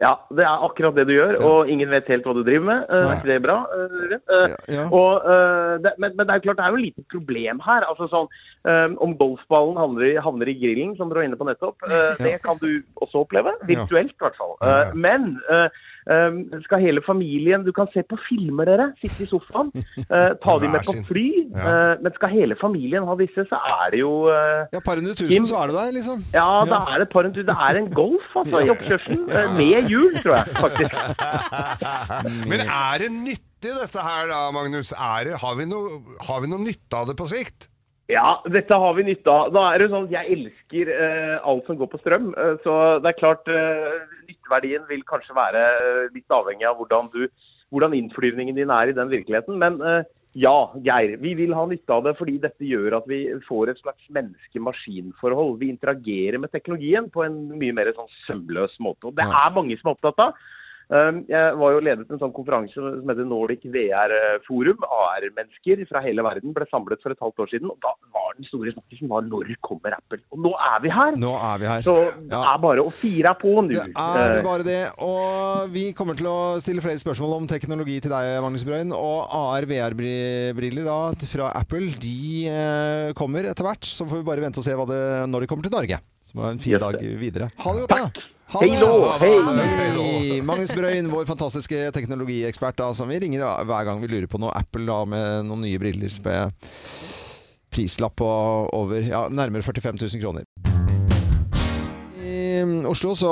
Speaker 9: Ja, det er akkurat det du gjør, og ingen vet helt hva du driver med. Eh,
Speaker 1: Nei.
Speaker 9: Er ikke det bra? eh, Rødt? Eh,
Speaker 1: Ja.
Speaker 9: Og, eh, det, men, men det er jo klart det er jo et lite problem her. altså sånn, eh, Om golfballen havner, i- havner i grillen, som dere var inne på nettopp, eh, det kan du også oppleve. Virtuelt, i hvert fall. Eh, Men eh, eh, skal hele familien Du kan se på filmer, dere. Sitte i
Speaker 1: [laughs]
Speaker 9: sofaen. eh, ta de med på
Speaker 2: Hver sin.
Speaker 9: fly.
Speaker 2: Ja.
Speaker 9: eh, men skal hele familien ha disse, så er det jo eh,
Speaker 1: Ja, par hundre
Speaker 9: Kim?
Speaker 1: tusen, så er du der, liksom.
Speaker 9: ja, da er det et par hundre Det er en golf altså, i oppkjørselen. eh, Med hjul, tror jeg faktisk.
Speaker 2: [laughs] Men er det nyttig dette her da, Magnus? Er det, har, vi noe, har vi noe nytte av det på sikt?
Speaker 9: Ja, dette har vi nytte av. Da er det jo sånn at Jeg elsker eh, alt som går på strøm. eh, så det er klart eh, Nytteverdien vil kanskje være eh, litt avhengig av hvordan, du, hvordan innflyvningen din er i den virkeligheten. Men eh, ja, Geir. Vi vil ha nytte av det fordi dette gjør at vi får et slags menneske-maskin-forhold. Vi interagerer med teknologien på en mye mer sånn sømløs måte. Og det er mange som er opptatt av. Um, Jeg var jo ledet en sånn konferanse som heter Nordic VR Forum. AR-mennesker fra hele verden ble samlet for et halvt år siden. og Da var den store snakkisen var når kommer Apple? Og nå er vi her!
Speaker 1: Nå er vi her.
Speaker 9: Så det
Speaker 1: Ja.
Speaker 9: er bare å fire på nå.
Speaker 1: Det er
Speaker 9: Eh,
Speaker 1: bare det. Og vi kommer til å stille flere spørsmål om teknologi til deg, Magnus Brøyn. Og AR-VR-briller da fra Apple, de eh, kommer etter hvert. Så får vi bare vente og se hva det, når de kommer til Norge. Så må ha en fin
Speaker 9: Yes,
Speaker 1: dag
Speaker 9: det.
Speaker 1: videre. Ha det godt, da! Ha
Speaker 9: Hei nå! Hei!
Speaker 1: Hei! Magnus Brøyn, vår fantastiske teknologiekspert da, som vi ringer hver gang vi lurer på noe Apple da, med noen nye briller med prislapp på over ja, nærmere 45 000 kroner. I um, Oslo så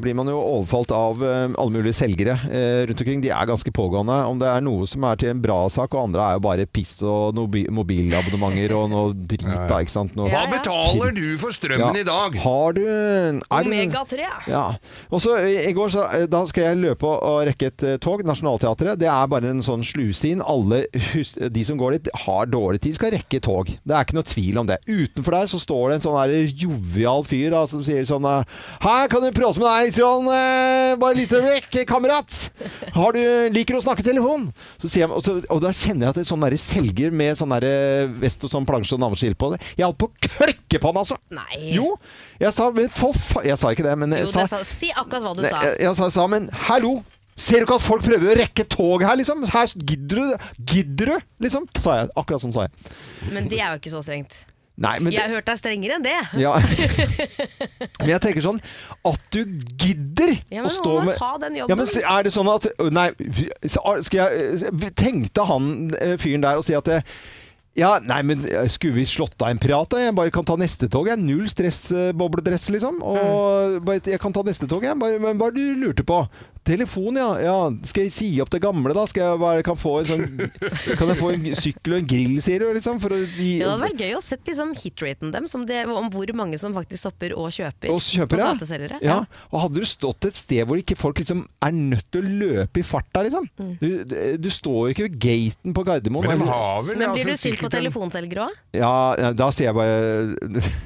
Speaker 1: blir man jo overfalt av eh, alle mulige selgere eh, rundt omkring. De er ganske pågående. Om det er noe som er til en bra sak, og andre er jo bare piss og noe bi- mobilabonnementer og noe drit, da. Ikke sant? Noe,
Speaker 2: Hva betaler du for strømmen
Speaker 1: Ja.
Speaker 2: i dag?
Speaker 1: Har du er det-
Speaker 6: Omega-3.
Speaker 1: ja. Og så i i går så, eh, da skal jeg løpe og- og rekke et eh, tog, Nationaltheatret. Det er bare en sånn sluse inn. Alle hus, de som går dit har dårlig tid, skal rekke tog. Det er ikke noe tvil om det. Utenfor der så står det en sånn her jovial fyr da, som sier sånn eh, Hei, kan du prate med deg litt sånn, eh, bare litt vekk, kamerat? Har du, liker du å snakke i telefon? Så sier jeg, og, så, og da kjenner jeg at det er sånn der selger med sånn der eh, vest og sånn plansje og navneskilt på det. Jeg holdt på å klekke på han, altså!
Speaker 6: Nei.
Speaker 1: Jo! Jeg sa, men for fa... Jeg sa ikke det, men jeg
Speaker 3: Jo,
Speaker 1: sa,
Speaker 3: det sa, si akkurat hva du
Speaker 1: Nei,
Speaker 3: sa.
Speaker 1: Jeg, jeg sa, sa, men hallo! Ser du ikke at folk prøver å rekke tog her, liksom? Her gidder du, gidder du, liksom? Sa jeg. Akkurat sånn sa jeg.
Speaker 3: Men det er jo ikke så strengt.
Speaker 1: Nei, men
Speaker 3: Jeg har hørt deg strengere enn det.
Speaker 1: ja. [laughs] Men jeg tenker sånn At du gidder
Speaker 3: Ja, men noen
Speaker 1: å stå
Speaker 3: må
Speaker 1: med
Speaker 3: ta den jobben.
Speaker 1: Ja, men så er det sånn at Nei, så- skal jeg eh, Tenkte han eh, fyren der og si at eh, ja, nei, men eh, skulle vi slått av en prat da? Jeg bare kan ta neste tog, jeg. Null stress, eh, bobledress, liksom.
Speaker 3: Mm.
Speaker 1: Og bare, jeg kan ta neste tog, jeg. Bare, men hva er det du lurte på? Telefon, ja. ja. Skal jeg si opp det gamle, da? Skal jeg bare, kan, få en sånn, kan jeg få en sykkel og en grill, sier du, liksom? For å gi
Speaker 3: Det hadde vært gøy å sett liksom hitraten dem, som det, om hvor mange som faktisk stopper og kjøper.
Speaker 1: Og så kjøper
Speaker 3: på
Speaker 1: jeg.
Speaker 3: plateselgere.
Speaker 1: Ja. Og hadde du stått et sted hvor ikke folk liksom er nødt til å løpe i farta, liksom.
Speaker 3: Mm.
Speaker 1: Du, du står jo ikke ved gaten på Gardermoen.
Speaker 2: Men de
Speaker 1: Eller-
Speaker 2: har vel
Speaker 3: Men blir
Speaker 2: altså,
Speaker 3: du sint på
Speaker 2: sikkert en-
Speaker 3: telefonselgere òg?
Speaker 1: Ja, ja, da sier jeg bare [laughs]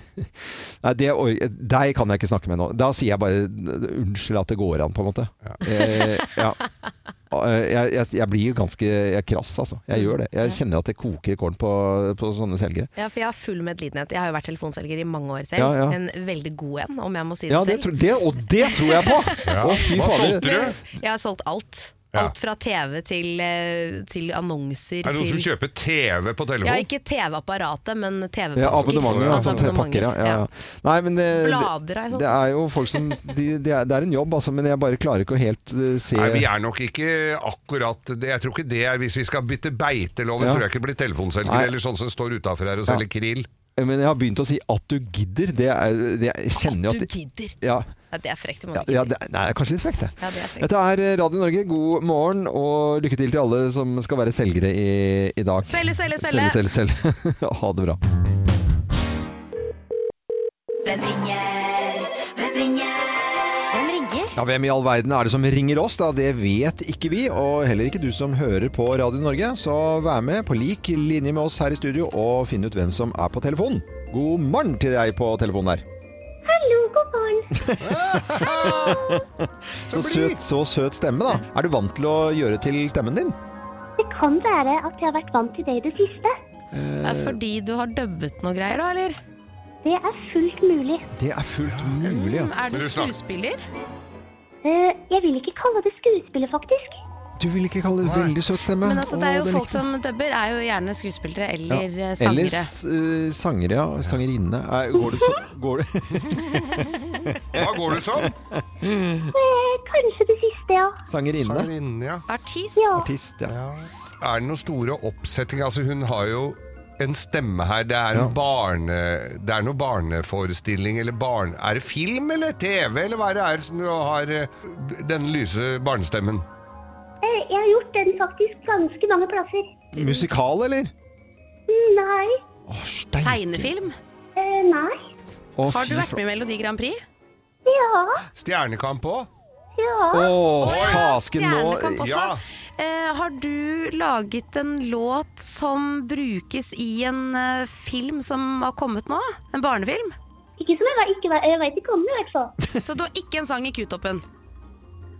Speaker 1: Nei, det, or- deg kan jeg ikke snakke med nå. Da sier jeg bare unnskyld at det går an, på en måte. Eh, ja. Eh, Jeg, jeg, jeg blir jo ganske jeg er krass, altså. Jeg gjør det. Jeg kjenner at det koker i kålen på, på sånne selgere.
Speaker 3: Ja, for jeg har full medlidenhet. Jeg har jo vært telefonselger i mange år selv.
Speaker 1: Ja, ja.
Speaker 3: En veldig god en, om jeg må si det
Speaker 1: Ja, det
Speaker 3: selv.
Speaker 1: tror, det, og det tror jeg
Speaker 3: [laughs]
Speaker 1: på!
Speaker 2: Ja.
Speaker 1: Å, fy
Speaker 2: Hva
Speaker 1: fader.
Speaker 2: solgte du?
Speaker 3: Jeg har solgt alt.
Speaker 2: Ja.
Speaker 3: Alt fra TV til, eh, til annonser
Speaker 2: Er det noen
Speaker 3: til
Speaker 2: som kjøper TV på telefon?
Speaker 3: Ja, ikke TV-apparatet, men TV-pakker.
Speaker 1: Ja, abonnementer. Ja,
Speaker 3: Altså
Speaker 1: sånn pakker, ja.
Speaker 3: abonnementer,
Speaker 1: ja, ja. Nei, men eh, det,
Speaker 3: Blader er
Speaker 1: det,
Speaker 3: sånn.
Speaker 1: det er jo folk som de, de er, Det er en jobb, altså, men jeg bare klarer ikke å helt eh, se
Speaker 2: Nei, vi er nok ikke akkurat det. Jeg tror ikke det er Hvis vi skal bytte beiteloven,
Speaker 1: Ja.
Speaker 2: tror jeg ikke det blir telefonselger
Speaker 1: Nei.
Speaker 2: eller sånn som står utafor her og selger krill.
Speaker 1: Men jeg har begynt å si 'at du gidder'. Det er, det, jeg kjenner jo
Speaker 3: Du
Speaker 1: at det,
Speaker 3: gidder!
Speaker 1: ja,
Speaker 3: Ja, det er frekt, det må
Speaker 1: ja,
Speaker 3: vi ikke
Speaker 1: ja,
Speaker 3: si.
Speaker 1: det, nei, det er kanskje litt frekt, det.
Speaker 3: Ja, det er frekt.
Speaker 1: Dette er eh, Radio Norge, god morgen og lykke til til alle som skal være selgere i, i dag.
Speaker 3: Selge, selge, selge.
Speaker 1: selge, selge, selge. [laughs] ha det bra.
Speaker 10: Hvem ringer? Hvem ringer? Hvem ringer?
Speaker 1: Ja, Ja, Hvem i all verden er det som ringer oss? da? Det vet ikke vi, og heller ikke du som hører på Radio Norge. Så vær med på lik linje med oss her i studio og finn ut hvem som er på telefonen. God morgen til deg på telefonen der.
Speaker 10: Hallo, god morgen.
Speaker 1: Så søt, så søt stemme, da. Er du vant til å gjøre til stemmen din?
Speaker 10: Det kan være at jeg har vært vant til det i det siste.
Speaker 3: Det er fordi du har dubbet noe greier, da, eller?
Speaker 10: Det er fullt mulig.
Speaker 1: Det er fullt mulig. Ja.
Speaker 3: Er du
Speaker 2: Men du snakker-
Speaker 3: skuespiller?
Speaker 10: Eh, Jeg vil ikke kalle det skuespillet, faktisk.
Speaker 1: Du vil ikke kalle det veldig søt stemme?
Speaker 3: Men altså, det
Speaker 1: Å,
Speaker 3: er jo
Speaker 1: den
Speaker 3: folk
Speaker 1: likte jeg.
Speaker 3: som dubber, er jo gjerne skuespillere
Speaker 1: Ja.
Speaker 3: eller eh, sangere.
Speaker 1: Eller s- eh, sangere, ja. Sangerinne. Er- Går du så går du,
Speaker 2: [laughs] Hva går du som?
Speaker 1: Mm.
Speaker 10: Eh, Kanskje det siste, ja.
Speaker 1: Sangerinne?
Speaker 2: Sangerinne, ja.
Speaker 3: Artist?
Speaker 10: Ja,
Speaker 1: Artist, ja.
Speaker 2: Ja. Er det noen store oppsettinger? Altså, hun har jo en stemme her. Det er, en barne, det er noe barneforestilling eller barn... Er det film eller TV, eller hva er det er som du har eh, den lyse barnestemmen?
Speaker 10: Eh, jeg har gjort den faktisk ganske mange plasser. Mm,
Speaker 1: Musikal, eller?
Speaker 10: Nei,
Speaker 1: Å, steike.
Speaker 3: Tegnefilm?
Speaker 10: eh, nei.
Speaker 1: Å,
Speaker 3: Har du
Speaker 1: fy
Speaker 3: vært
Speaker 1: fa-
Speaker 3: med i Melodi Grand Prix?
Speaker 10: Ja,
Speaker 2: Stjernekamp òg?
Speaker 10: ja.
Speaker 1: Å,
Speaker 3: Å ja,
Speaker 1: fasken
Speaker 3: Stjernekamp
Speaker 1: nå
Speaker 3: også.
Speaker 2: ja.
Speaker 3: Eh, har du laget en låt som brukes i en eh, film som har kommet nå? En barnefilm?
Speaker 10: Ikke som jeg, var, ikke, var- jeg vet ikke om det, i hvert fall.
Speaker 3: [laughs] Så du har ikke en sang i Q-toppen?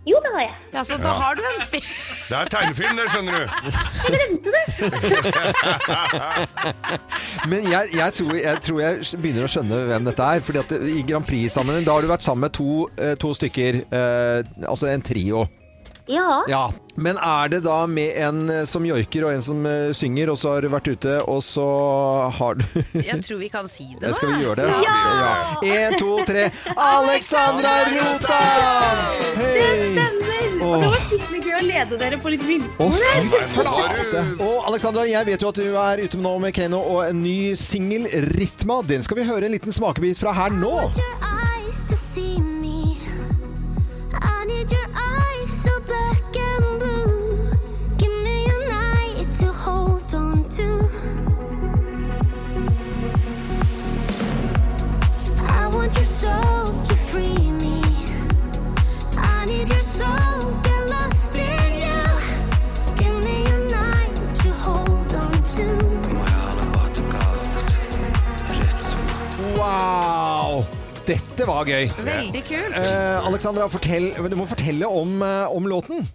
Speaker 10: Jo, det har jeg.
Speaker 3: Ja, så da har du en film.
Speaker 2: Det er tegnefilm, det, skjønner du.
Speaker 1: [laughs]
Speaker 2: [laughs]
Speaker 1: Men jeg, jeg, tror, jeg tror jeg begynner å skjønne hvem dette er. Fordi at det, I Grand Prix-sammenheng Da har du vært sammen med to, eh, to stykker. Eh, altså en trio.
Speaker 10: Ja,
Speaker 1: Ja. Men er det da med en eh, som joiker og en som eh, synger, og så har du vært ute, og så har du
Speaker 3: [laughs] Jeg tror vi kan si det, da.
Speaker 1: Skal vi gjøre det?
Speaker 10: Ja!
Speaker 1: En, to, tre Alexandra Rotan! Hei!
Speaker 10: stemmer. Og det var skikkelig gøy å lede dere på litt
Speaker 1: Å,
Speaker 10: villspor her.
Speaker 1: fy flate! Og Alexandra, jeg vet jo at du er ute nå med Keno og en ny singel, 'Ritma'. Den skal vi høre en liten smakebit fra her nå.
Speaker 11: need your eyes to see me. I need your eyes so black and blue. Give me a night to hold on to. I want your soul to free me. I need your soul. Get lost in you. Give me a night to hold on to.
Speaker 1: Wow! Dette var gøy.
Speaker 3: Veldig kult.
Speaker 1: Eh, Alexandra, fortell, du må fortelle om, eh, om låten.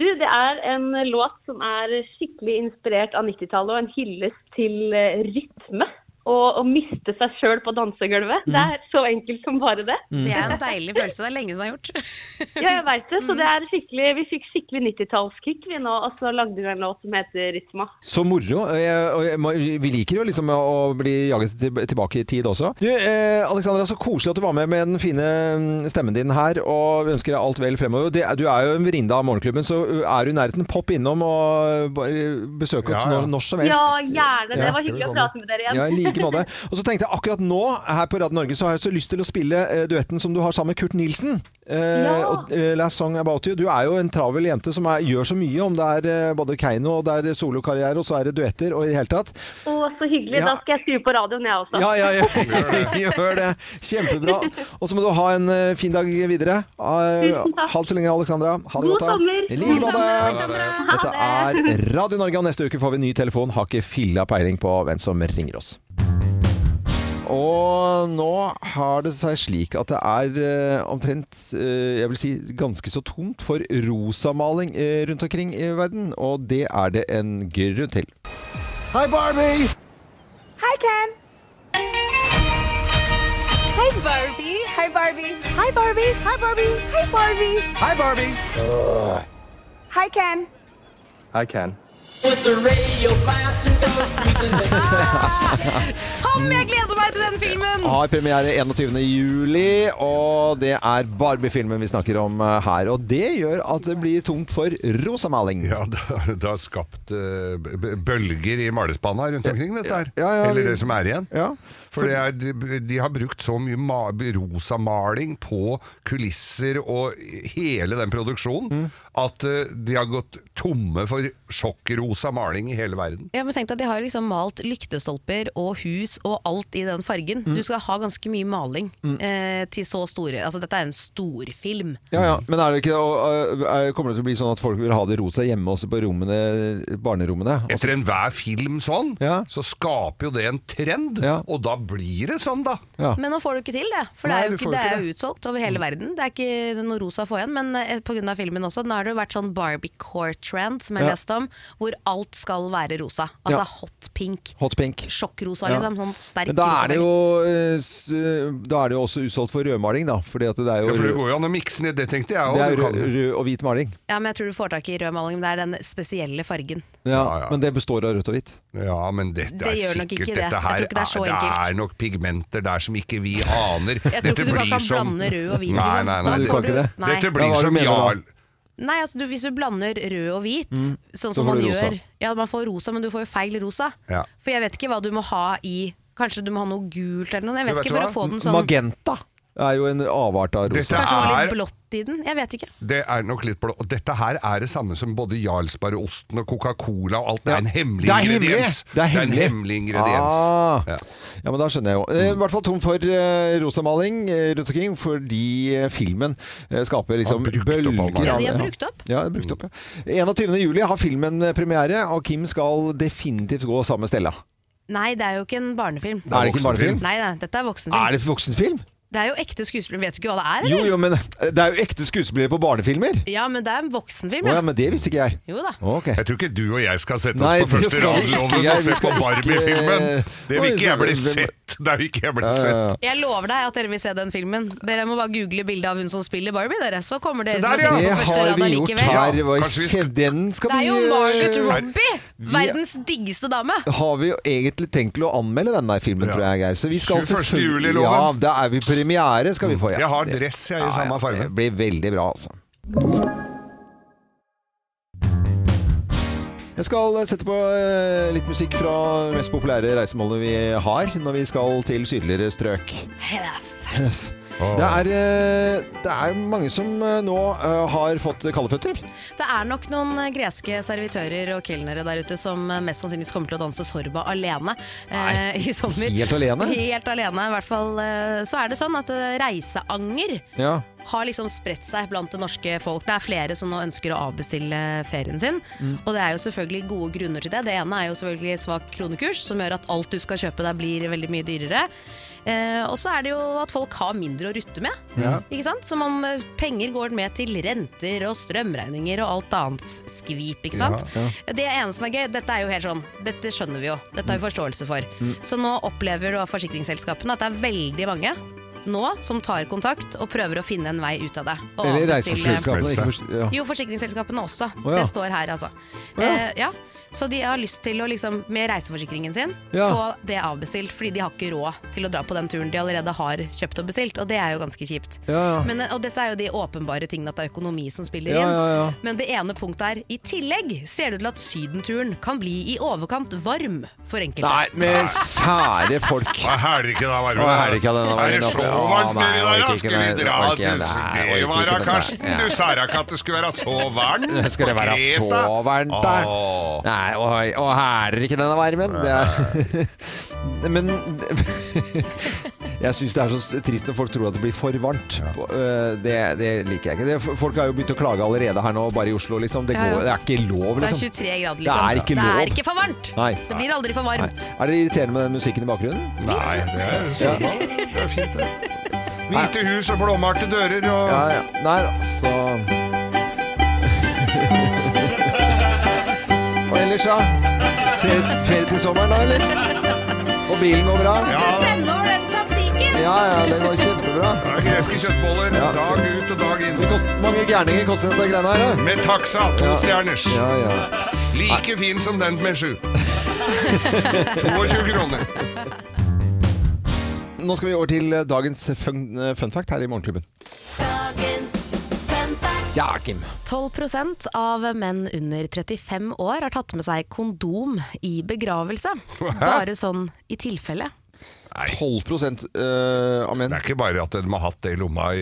Speaker 10: Du, det er en låt som er skikkelig inspirert av 90-tallet, og en hyllest til eh, rytme. Og å miste seg sjøl på dansegulvet. Det er så enkelt som bare det.
Speaker 3: Det er en deilig følelse. Det er lenge siden jeg har gjort.
Speaker 10: [laughs]
Speaker 3: Mm.
Speaker 10: Ja, jeg vet det. Så det er skikkelig, vi fikk skikkelig 90-tallskick vi nå, og så lagde vi en låt som heter 'Rytma'.
Speaker 1: Så moro. Eh, og jeg må- Vi liker jo liksom å bli jaget til- tilbake i tid også. Du, eh, Alexandra, så koselig at du var med med den fine mm, stemmen din her. Og vi ønsker deg alt vel fremover. Det, du er jo en vrinda av Morgenklubben, så er du i nærheten, popp innom og bare besøk oss
Speaker 2: Ja, ja.
Speaker 1: når, når som helst.
Speaker 10: Ja, gjerne. Det
Speaker 1: Ja,
Speaker 10: var hyggelig å
Speaker 2: velkommen.
Speaker 10: prate med dere igjen.
Speaker 1: Ja, i like måte. Og så tenkte jeg akkurat nå, her på Radio Norge, så har jeg så lyst til å spille eh, duetten som du har sammen med Kurt Nilsen. Eh,
Speaker 10: Ja.
Speaker 1: og, eh, Last Song About You. Du er jo en travel jente som er, gjør så mye, om det er eh, både Keiino, og det er solokarriere, og så er det duetter, og i det hele tatt.
Speaker 10: [laughs] Å, så hyggelig.
Speaker 1: Ja.
Speaker 10: Da skal jeg skru på radioen, jeg også.
Speaker 1: Ja, ja,
Speaker 10: [laughs]
Speaker 1: ja. [laughs] gjør det. Kjempebra. Og så må du ha en eh, fin dag videre. Eh,
Speaker 10: Tusen takk.
Speaker 1: Ha det så lenge, Alexandra. Ha det
Speaker 10: God
Speaker 1: godt. da.
Speaker 10: sommer.
Speaker 1: I like
Speaker 10: God
Speaker 1: måte. Dette
Speaker 10: Ha det.
Speaker 1: er Radio Norge, og neste uke får vi ny telefon. Har ikke filla peiling på hvem som ringer oss. Og nå har det seg slik at det er eh, omtrent eh, jeg vil si ganske så tomt for rosamaling eh, rundt omkring i verden. Og det er det en grunn til. Hei, [laughs] Barbie!
Speaker 11: Hi, Ken. Hi, Barbie. Hi, Barbie. Hi, Barbie. Hi, Barbie. Hi, Barbie.
Speaker 1: Hei, Barbie!
Speaker 11: Hi, Ken.
Speaker 5: I can.
Speaker 3: Som jeg gleder meg til den filmen!
Speaker 1: Har premiere 21. juli, og det er Barbie-filmen vi snakker om eh, her. Og det gjør at det blir tomt for rosamaling.
Speaker 2: Ja, det, har- det har skapt eh, b- b- bølger i malespanna rundt omkring, dette her.
Speaker 1: Ja, ja, vi-
Speaker 2: Eller det som er igjen.
Speaker 1: Ja.
Speaker 2: For det er, de, de har brukt så mye ma rosa maling på kulisser
Speaker 1: Mm.
Speaker 2: og hele den produksjonen at eh, de har gått tomme for rosa maling i hele verden.
Speaker 3: Ja, men tenk deg, De har liksom malt lyktestolper og hus og alt i den fargen.
Speaker 1: Mm.
Speaker 3: Du skal ha ganske mye maling
Speaker 1: Mm.
Speaker 3: eh, til så store Altså, dette er en storfilm.
Speaker 1: Ja, ja, men er det ikke, og, øh, er, kommer det til å bli sånn at folk vil ha det rosa hjemme også på rommene, barnerommene?
Speaker 2: Etter enhver film sånn, så skaper jo det en trend, og da blir det sånn, da.
Speaker 3: Men nå får du ikke til det. For det
Speaker 2: Nei,
Speaker 3: er jo
Speaker 2: du
Speaker 3: ikke,
Speaker 2: får
Speaker 3: det
Speaker 2: jo
Speaker 3: er
Speaker 2: ikke
Speaker 3: jo utsolgt over
Speaker 1: Mm.
Speaker 3: hele verden. Det er ikke noe rosa å få igjen. Men eh, på grunn av filmen også, nå har det jo vært sånn Barbie-core-trend som jeg
Speaker 1: Ja.
Speaker 3: leste om, hvor alt skal være rosa. Altså
Speaker 1: Ja.
Speaker 3: hot pink.
Speaker 1: Hot pink.
Speaker 3: Sjokkrosa,
Speaker 1: Ja.
Speaker 3: liksom. Sånn sterk
Speaker 1: Men da
Speaker 3: rosa
Speaker 1: er, det
Speaker 3: farge.
Speaker 1: jo, øh, s- øh, da er det jo også utsolgt for rødmaling, da. Fordi at det er jo
Speaker 2: Ja, for det går jo an å mikse ned, det tenkte jeg
Speaker 1: det er
Speaker 2: òg.
Speaker 1: jo rød, rød og hvit maling.
Speaker 3: Ja, men jeg tror du får tak i rød maling, men det er den spesielle fargen.
Speaker 1: Ja, Men det består av rødt og hvitt.
Speaker 2: Ja, men dette
Speaker 3: Det
Speaker 2: er
Speaker 3: gjør nok
Speaker 2: sikkert
Speaker 3: ikke det.
Speaker 2: dette
Speaker 3: Jeg
Speaker 2: her,
Speaker 3: tror ikke det er så
Speaker 2: er,
Speaker 3: enkelt.
Speaker 2: er nok pigmenter der som
Speaker 3: [laughs]
Speaker 2: ikke vi aner.
Speaker 3: Jeg tror ikke du bare kan blande rød og hvit,
Speaker 2: Nei,
Speaker 3: liksom. Da
Speaker 2: nei,
Speaker 3: får
Speaker 2: nei.
Speaker 1: Du kan
Speaker 3: du-
Speaker 1: ikke det.
Speaker 3: Nei.
Speaker 2: Dette
Speaker 1: Ja,
Speaker 2: blir
Speaker 1: hva er det
Speaker 2: som
Speaker 1: du mener da?
Speaker 2: jarl.
Speaker 3: Nei, altså du, hvis du blander rød og hvit,
Speaker 1: Mm.
Speaker 3: sånn
Speaker 1: Så
Speaker 3: som
Speaker 1: får
Speaker 3: man
Speaker 1: du rosa.
Speaker 3: gjør Ja, man får rosa, men du får jo feil rosa.
Speaker 1: Ja.
Speaker 3: For jeg vet ikke hva du må ha i Kanskje du må ha noe gult eller noe. Jeg vet,
Speaker 1: Du vet
Speaker 3: ikke for
Speaker 1: hva?
Speaker 3: å få den sånn
Speaker 1: Magenta er jo en avart av rosa.
Speaker 2: Dette
Speaker 3: Kanskje det var litt
Speaker 2: er-
Speaker 3: blått i den. Jeg vet ikke.
Speaker 2: Det er nok litt blå. Og dette her er det samme som både Jarlsbergosten og Coca-Cola og alt. Det er en hemmelig
Speaker 1: Det er hemmelig!
Speaker 2: ingrediens.
Speaker 1: Det er
Speaker 2: en
Speaker 1: hemmelig.
Speaker 2: hemmelig ingrediens.
Speaker 1: Ah. Ja. men da skjønner jeg jo. Eh, I hvert fall tom for eh, rosamaling eh, rundt omkring, fordi eh, filmen eh, skaper liksom bølger
Speaker 3: Ja,
Speaker 1: av
Speaker 3: de har
Speaker 1: det.
Speaker 3: brukt opp.
Speaker 1: Ja, det er brukt opp, ja. 21. juli har filmen eh, premiere, og Kim skal definitivt gå sammen med Stella.
Speaker 3: Nei, det er jo ikke en barnefilm.
Speaker 1: Er det ikke en barnefilm?
Speaker 3: Nei, nei, dette er voksenfilm.
Speaker 1: Er det voksenfilm?
Speaker 3: Det er jo ekte skuespillere. Vet du ikke hva det er,
Speaker 1: Jo,
Speaker 3: eller?
Speaker 1: jo, men eh, det er jo ekte skuespillere på barnefilmer!
Speaker 3: Ja, men det er en voksenfilm,
Speaker 1: Å ja, men det visste ikke jeg.
Speaker 3: Jo da.
Speaker 2: Jeg tror ikke du og jeg skal sette oss
Speaker 1: Nei,
Speaker 2: på
Speaker 1: det
Speaker 2: første
Speaker 1: skal vi
Speaker 2: radioen
Speaker 1: ikke.
Speaker 2: og se
Speaker 1: Vi
Speaker 2: på
Speaker 1: skal
Speaker 2: Barbie-filmen.
Speaker 1: ikke-
Speaker 2: Det vil ikke jeg bli
Speaker 1: Oi, så-
Speaker 2: sett. Det vil ikke jeg bli
Speaker 1: Ja, ja, ja.
Speaker 2: sett.
Speaker 3: Jeg lover deg at dere vil se den filmen. Dere må bare google bildet av hun som spiller Barbie, dere. Så kommer dere
Speaker 1: Det
Speaker 3: til å se den på første
Speaker 1: har
Speaker 3: rad
Speaker 1: vi gjort
Speaker 3: allikevel.
Speaker 1: her. Hva
Speaker 2: Kanskje vi skal-
Speaker 1: skje- Den skal
Speaker 3: Det er
Speaker 1: vi
Speaker 3: jo Margaret
Speaker 1: eh,
Speaker 3: Robbie! Verdens diggeste dame.
Speaker 1: har vi jo egentlig tenkt til å anmelde denne filmen, tror jeg, Geir. Så vi skal
Speaker 2: 21.
Speaker 1: selvfølgelig-
Speaker 2: juli, loven.
Speaker 1: Ja, da er vi premiere, skal vi få. Ja.
Speaker 2: Jeg har
Speaker 1: Det-
Speaker 2: dress jeg,
Speaker 1: Ja,
Speaker 2: i
Speaker 1: ja,
Speaker 2: samme farge.
Speaker 1: Det blir veldig bra, altså. Jeg skal eh, sette på eh, litt musikk fra de mest populære reisemålene vi har, når vi skal til sydligere strøk. Hellas. Det er, eh, det er mange som eh, nå eh, har fått kalde føtter.
Speaker 3: Det er nok noen eh, greske servitører og kelnere der ute som eh, mest sannsynligvis kommer til å danse sorba alene eh, i sommer.
Speaker 1: helt alene?
Speaker 3: Helt alene, i hvert fall. eh, Så er det sånn at eh, reiseanger
Speaker 1: Ja.
Speaker 3: har liksom spredt seg blant det norske folk. Det er flere som nå ønsker å avbestille ferien sin.
Speaker 6: Mm.
Speaker 3: Og det er jo selvfølgelig gode grunner til det. Det ene er jo selvfølgelig svak kronekurs, som gjør at alt du skal kjøpe der blir veldig mye dyrere. Eh, og så er det jo at folk har mindre å rutte med.
Speaker 11: Ja.
Speaker 3: Ikke sant? Som om eh, penger går med til renter og strømregninger og alt annet skvip, ikke sant.
Speaker 11: Ja,
Speaker 3: Det ene som er gøy, dette er jo helt sånn, dette skjønner vi jo. Dette har vi forståelse for.
Speaker 11: Mm.
Speaker 3: Så nå opplever jo forsikringsselskapene at det er veldig mange nå som tar kontakt og prøver å finne en vei ut av det. Og
Speaker 1: Eller
Speaker 3: avbestille-
Speaker 1: reiseselskapene, ikke forst- ja.
Speaker 3: Jo, forsikringsselskapene også.
Speaker 1: Å, ja.
Speaker 3: Det står her, altså.
Speaker 1: Å, ja.
Speaker 3: Eh, ja. Så de har lyst til å liksom, med reiseforsikringen sin,
Speaker 1: Ja.
Speaker 3: få det avbestilt, fordi de har ikke råd til å dra på den turen de allerede har kjøpt og bestilt, og det er jo ganske kjipt.
Speaker 1: Ja, ja.
Speaker 3: Men, eh, og dette er jo de åpenbare tingene at det er økonomi som spiller
Speaker 1: Ja,
Speaker 3: inn.
Speaker 1: ja, ja.
Speaker 3: Men det ene punktet er, i tillegg ser det ut til at sydenturen kan bli i overkant varm for enkelte.
Speaker 1: Nei, men sære folk.
Speaker 2: Hva er det ikke da, Varme?
Speaker 1: Hva er det ikke da, Varme?
Speaker 2: Er det så
Speaker 1: Ja,
Speaker 2: varmt
Speaker 1: nei,
Speaker 2: nedi
Speaker 1: jeg
Speaker 2: der? da?
Speaker 1: orker ikke
Speaker 2: Skal vi
Speaker 1: det. Jeg
Speaker 2: dra
Speaker 1: orker
Speaker 2: til
Speaker 1: ikke det. Nei, jeg
Speaker 2: Det
Speaker 1: orker
Speaker 2: var da,
Speaker 1: ikke det.
Speaker 2: Karsten.
Speaker 1: Ja.
Speaker 2: Du sa da ikke at det skulle være så varmt.
Speaker 1: Det [laughs] skal det være
Speaker 2: Greta.
Speaker 1: så varmt, da? Nei, og, og her er ikke denne varmen. Det er, [laughs] men jeg syns det er så trist når folk tror at det blir for varmt. Eh, Det, det liker jeg ikke. Det, folk har jo begynt å klage allerede her nå, bare i Oslo, liksom. Det,
Speaker 3: Ja, ja.
Speaker 1: går, det er ikke lov,
Speaker 3: Det er
Speaker 1: liksom.
Speaker 3: 23 grader,
Speaker 1: Det
Speaker 3: liksom.
Speaker 1: er ikke lov.
Speaker 3: Det er ikke for varmt.
Speaker 1: Nei.
Speaker 3: Det blir aldri for varmt.
Speaker 1: Nei. Er det irriterende med den musikken i bakgrunnen?
Speaker 2: Nei, det er
Speaker 1: Ja.
Speaker 2: sånn. Det er fint, det. Hvite hus og blåmalte dører og
Speaker 1: Ja, ja. Nei da, så [laughs] Og ellers, da? Ferie, ferie til sommeren, da, eller? Og bilen går bra?
Speaker 3: [laughs] Send over den satsiken!
Speaker 1: Ja, ja, det går kjempebra.
Speaker 2: Det er greske kjøttboller dag ut og dag inn.
Speaker 1: Hvor mange gærninger koster dette greiene her? da?
Speaker 2: Med taxa, to
Speaker 1: Ja.
Speaker 2: stjerners.
Speaker 1: Ja, ja.
Speaker 2: Like fin som den med
Speaker 1: [laughs]
Speaker 2: sju. 22 kroner.
Speaker 1: Nå skal vi over til eh, dagens fun, eh, fun fact her i Morgenklubben. Ja, Kim.
Speaker 3: 12 av menn under 35 år har tatt med seg kondom i begravelse.
Speaker 2: Hæ?
Speaker 3: Bare sånn i tilfelle.
Speaker 1: 12 eh,
Speaker 2: Det er ikke bare at de har hatt det i lomma i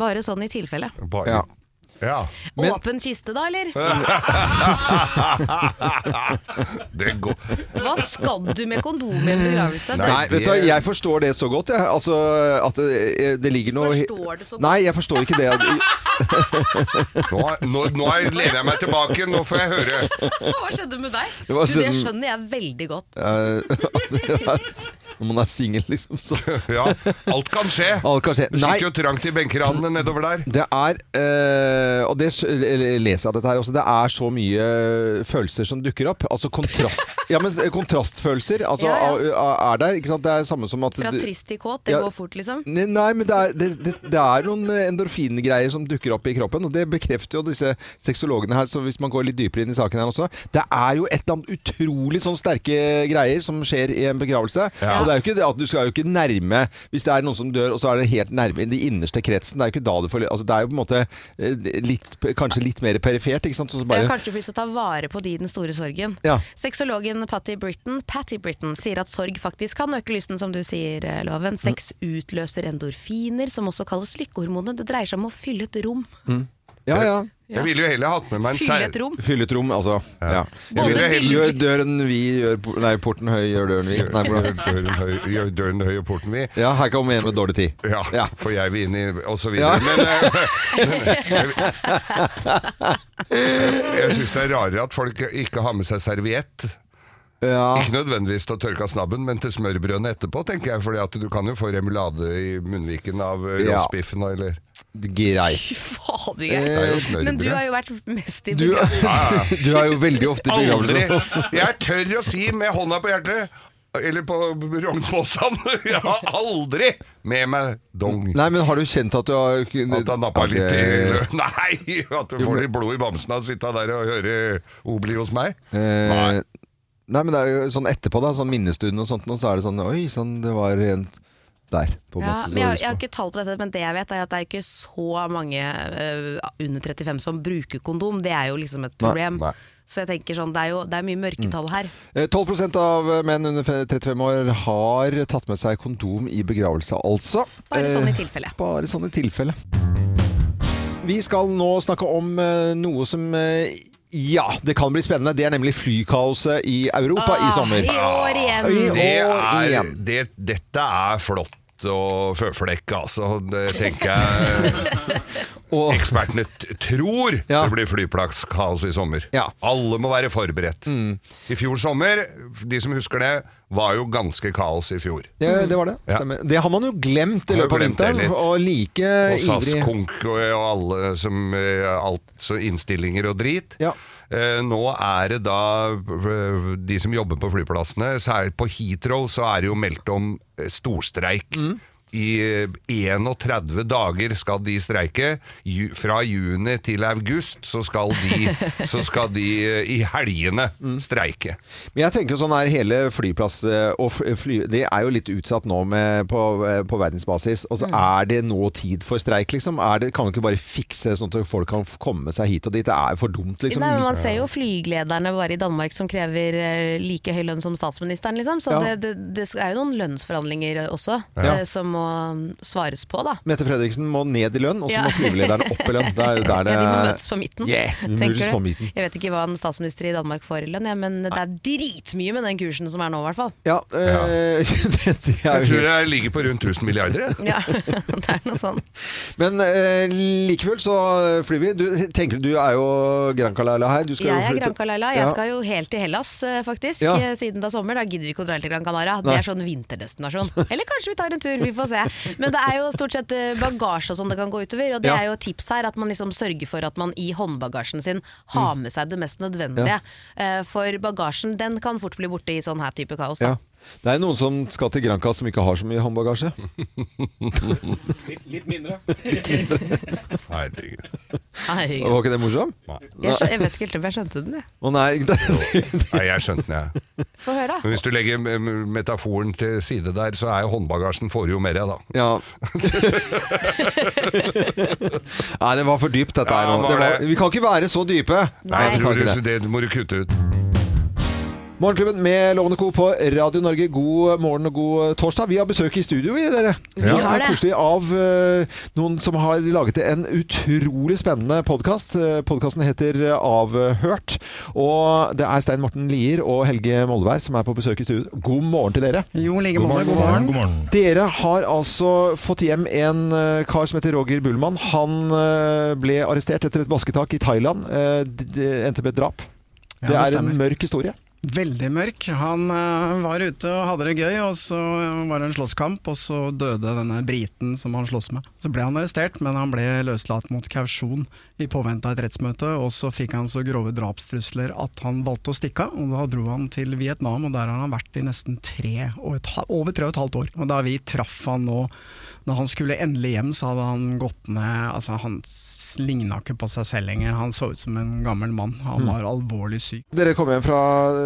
Speaker 3: Bare sånn i tilfelle.
Speaker 2: bare. Ja.
Speaker 3: Åpen kiste, da, eller?
Speaker 2: [laughs] det går
Speaker 3: Hva skal du med kondom i en begravelse?
Speaker 1: Nei, vet du, hva, jeg forstår det så godt, jeg. Altså, at det, det ligger noe
Speaker 3: Forstår det så godt?
Speaker 1: Nei, jeg forstår
Speaker 3: [laughs]
Speaker 1: ikke det.
Speaker 2: nå, nå, nå lener jeg meg tilbake, nå får jeg høre.
Speaker 3: Hva skjedde med deg?
Speaker 1: Det var
Speaker 3: Du, det
Speaker 1: sånn-
Speaker 3: skjønner jeg veldig godt.
Speaker 1: [laughs] Eh, Når man er singel, liksom. Så.
Speaker 2: [laughs] ja, alt kan skje.
Speaker 1: Alt kan skje.
Speaker 2: Det
Speaker 1: Nei,
Speaker 2: sitter jo trangt i benkeradene nedover der.
Speaker 1: det er eh, Og det s- eller leser jeg av dette her også. Det er så mye eh, følelser som dukker opp. Altså
Speaker 3: [laughs]
Speaker 1: kontrast Ja, men eh, kontrastfølelser altså,
Speaker 3: Ja,
Speaker 1: er der. Ikke sant? Det er samme som at
Speaker 3: Fra
Speaker 1: du-
Speaker 3: trist til kåt, det
Speaker 1: Ja.
Speaker 3: går fort, liksom.
Speaker 1: Nei, nei, men det er, det, det, det er noen eh, endorfingreier som dukker opp i kroppen, og det bekrefter jo disse sexologene her, så hvis man går litt dypere inn i saken her også. Det er jo et eller annet utrolig sånn sterke greier som skjer i en begravelse.
Speaker 2: Ja.
Speaker 1: Og det er jo ikke det at du skal jo ikke nærme Hvis det er noen som dør, og så er det helt nærme i den innerste kretsen, det er jo ikke da du får Altså det er jo på en måte eh, litt, kanskje litt mer perifert, ikke sant? Så
Speaker 3: Ja,
Speaker 1: bare,
Speaker 3: kanskje du får lyst til å ta vare på de i den store sorgen.
Speaker 1: Ja.
Speaker 3: Sexologen Patty Britton, Patty Britton sier at sorg faktisk kan øke lysten, som du sier, eh, Loven. Sex utløser endorfiner, som også kalles lykkehormonet. Det dreier seg om å fylle et rom.
Speaker 1: mm. Ja, ja.
Speaker 2: Jeg ville jo heller hatt med meg en
Speaker 3: Fylle et rom.
Speaker 1: Fylle et rom, altså. Ja.
Speaker 2: Jeg ville heller
Speaker 1: Gjør døren vid, gjør por- Nei, porten høy, gjør døren vid. Nei, hvordan?
Speaker 2: Gjør døren høy, gjør døren høy og porten vid.
Speaker 1: Ja, her kommer en med dårlig tid.
Speaker 2: Ja, for jeg vil inn i og så
Speaker 1: Ja.
Speaker 2: videre. Men, eh, men jeg [laughs] jeg syns det er rarere at folk ikke har med seg serviett. Ikke nødvendigvis til å tørke av snabben, men til smørbrødene etterpå, tenker jeg. For du kan jo få remulade i munnviken av eh,
Speaker 1: Ja.
Speaker 2: roastbiffen, eller
Speaker 1: Greit.
Speaker 3: Fader,
Speaker 1: Det er jo
Speaker 3: jeg.
Speaker 1: Eh, smørbrød.
Speaker 3: Men du har jo vært mest i
Speaker 1: Du,
Speaker 3: begravelsen.
Speaker 1: [laughs] du er jo veldig ofte i
Speaker 2: Aldri!
Speaker 1: begravelser.
Speaker 2: Jeg tør å si med hånda på hjertet, eller på rognposen, [laughs] jeg har aldri med meg dong.
Speaker 1: Nei, men har du kjent at du har Eh, kunnet
Speaker 2: At han nappa litt i
Speaker 1: Ok.
Speaker 2: Nei! At du
Speaker 1: Jo,
Speaker 2: får
Speaker 1: men-
Speaker 2: litt blod i bamsen av å sitte der og høre Obli hos meg.
Speaker 1: Eh, Nei, men det er jo sånn etterpå, da. Sånn minnestund og sånt, og så er det sånn Oi sann, det var en der,
Speaker 3: Ja,
Speaker 1: på en måte. Så liksom-
Speaker 3: men jeg,
Speaker 1: har du
Speaker 3: jeg har ikke tall på dette, men det jeg vet er at det er jo ikke så mange eh, under 35 som bruker kondom. Det er jo liksom et
Speaker 1: Nei,
Speaker 3: problem.
Speaker 1: nei.
Speaker 3: Så jeg tenker sånn, det er jo det er mye mørketall her.
Speaker 1: Eh, 12 av menn under fe- 35 år har tatt med seg kondom i begravelse, altså.
Speaker 3: Bare sånn i
Speaker 1: Eh,
Speaker 3: tilfelle.
Speaker 1: Bare sånn i tilfelle. Vi skal nå snakke om eh, noe som eh, ja, det kan bli spennende. Det er nemlig flykaoset i Europa
Speaker 3: Ah.
Speaker 1: i sommer.
Speaker 3: I år igjen.
Speaker 1: I år
Speaker 2: Det er,
Speaker 1: igjen.
Speaker 2: det, dette er flott. Og føflekke, altså. Det tenker jeg
Speaker 1: [laughs]
Speaker 2: ekspertene t- tror
Speaker 1: Ja.
Speaker 2: det blir flyplasskaos i sommer.
Speaker 1: Ja. Mm.
Speaker 2: Alle må være forberedt. I fjor sommer, de som husker det, var jo ganske kaos i fjor.
Speaker 1: Det, det var det.
Speaker 2: Ja.
Speaker 1: Stemmer. Det har man jo glemt i
Speaker 2: Mm. Har jo
Speaker 1: løpet av
Speaker 2: glemt det
Speaker 1: vinteren.
Speaker 2: litt.
Speaker 1: Og like
Speaker 2: Og SAS
Speaker 1: Eh, ivrig
Speaker 2: Konk og eh, og alle som eh, alt, så innstillinger og drit. Eh, nå er det da eh, de som jobber på flyplassene særlig På Heathrow så er det jo meldt om eh, storstreik.
Speaker 1: Mm.
Speaker 2: I eh, 31 dager skal de streike. Ju, fra juni til august så skal
Speaker 1: [laughs]
Speaker 2: de, så skal de eh, i helgene
Speaker 1: Mm.
Speaker 2: streike.
Speaker 1: Men jeg tenker jo sånn her hele flyplass eh, og fly, fly, Det er jo litt utsatt nå med, på, eh, på verdensbasis. Og så
Speaker 3: Mm.
Speaker 1: er det nå tid for streik, liksom. Er det, kan vi ikke bare fikse det sånn at folk kan f- komme seg hit og dit? Det er jo for dumt, liksom.
Speaker 3: Nei, men man ser jo flygelederne bare i Danmark som krever eh, like høy lønn som statsministeren, liksom. Så
Speaker 1: Ja.
Speaker 3: det, det, det er jo noen lønnsforhandlinger også
Speaker 1: Ja.
Speaker 3: eh, som må mm, svares på, da.
Speaker 1: Mette Fredriksen må ned i lønn, og så
Speaker 3: Ja.
Speaker 1: må flygelederne opp i lønn. Det er jo der det
Speaker 3: Ja, de må møtes på midten,
Speaker 1: Yeah, de må
Speaker 3: [laughs]
Speaker 1: møtes
Speaker 3: tenker
Speaker 1: på
Speaker 3: du.
Speaker 1: midten.
Speaker 3: Jeg vet ikke hva en statsminister i Danmark får i lønn, ja, men det er dritmye med den kursen som er nå, i hvert fall.
Speaker 1: Ja, eh, [laughs] det, det er jo
Speaker 2: Jeg tror jeg ligger på rundt 1000 milliarder. jeg.
Speaker 3: Ja, det er noe sånn.
Speaker 1: Men eh, like fullt så flyr vi. Du, tenker du du er jo Granca-Laila her. Du skal
Speaker 3: Jeg
Speaker 1: jo
Speaker 3: er
Speaker 1: flytte-
Speaker 3: Gran Canaria.
Speaker 1: Ja.
Speaker 3: Jeg skal jo helt til Hellas, eh, faktisk.
Speaker 1: Ja.
Speaker 3: eh, Siden det er sommer, da gidder vi ikke å dra helt til Gran Canaria. Det
Speaker 1: Nei.
Speaker 3: er sånn vinterdestinasjon. Eller kanskje vi tar en tur, vi får se. Men det er jo stort sett eh, bagasje og sånn det kan gå utover. Og det
Speaker 1: Ja.
Speaker 3: er jo tips her, at man liksom sørger for at man i håndbagasjen sin har med seg det mest
Speaker 1: Mm. Ja.
Speaker 3: nødvendige. Eh, For bagasjen, den kan fort bli borte i sånn her type kaos.
Speaker 1: Ja.
Speaker 3: Da.
Speaker 1: Det er noen som skal til Granca som ikke har så mye håndbagasje.
Speaker 5: [laughs] Litt, litt mindre.
Speaker 2: Herregud.
Speaker 3: Herregud.
Speaker 1: Var ikke det morsom?
Speaker 3: Jeg, skjø- jeg vet ikke helt om jeg skjønte den, jeg.
Speaker 1: Å nei, [laughs] det,
Speaker 2: Nei, jeg skjønte den, jeg.
Speaker 3: Få høre.
Speaker 2: Men hvis du legger eh, metaforen til side der, så er jo håndbagasjen får jo mer av, da. [laughs]
Speaker 1: ja. nei, det var for dypt dette her.
Speaker 2: Ja,
Speaker 1: nå.
Speaker 2: var
Speaker 1: Det var,
Speaker 2: det.
Speaker 1: vi kan ikke være så dype.
Speaker 2: Nei,
Speaker 1: vi
Speaker 2: tror
Speaker 1: kan
Speaker 2: du,
Speaker 1: ikke
Speaker 2: så
Speaker 1: det.
Speaker 2: det må du kutte ut.
Speaker 1: Morgenklubben med Lovende Co på Radio Norge. God morgen og god torsdag. Vi har besøk i studio, vi, dere.
Speaker 11: Vi Ja.
Speaker 1: er
Speaker 11: har det.
Speaker 1: Koselig av eh, noen som har laget en utrolig spennende podkast. Podkasten heter Avhørt. Og det er Stein Morten Lier og Helge Molvær som er på besøk i studio. God morgen til dere.
Speaker 12: Jo, like God morgen, morgen, god god morgen. morgen, god morgen.
Speaker 1: Dere har altså fått hjem en eh, kar som heter Roger Bullmann. Han eh, ble arrestert etter et basketak i Thailand. Eh, d- Det endte med et drap.
Speaker 12: Ja,
Speaker 1: det
Speaker 12: det
Speaker 1: er en
Speaker 12: stemmer.
Speaker 1: mørk historie.
Speaker 12: Veldig mørk. Han eh, var ute og hadde det gøy, og så var det en slåsskamp, og så døde denne briten som han sloss med. Så ble han arrestert, men han ble løslatt mot kausjon i påvente av et rettsmøte, og så fikk han så grove drapstrusler at han valgte å stikke av, og da dro han til Vietnam, og der har han vært i nesten tre og et, ha- over tre og et halvt år. Og da vi traff han nå, når han skulle endelig hjem, så hadde han gått ned, altså han s- ligna ikke på seg selv lenger, han så ut som en gammel mann, han
Speaker 1: Mm.
Speaker 12: var alvorlig syk.
Speaker 1: Dere kom hjem fra,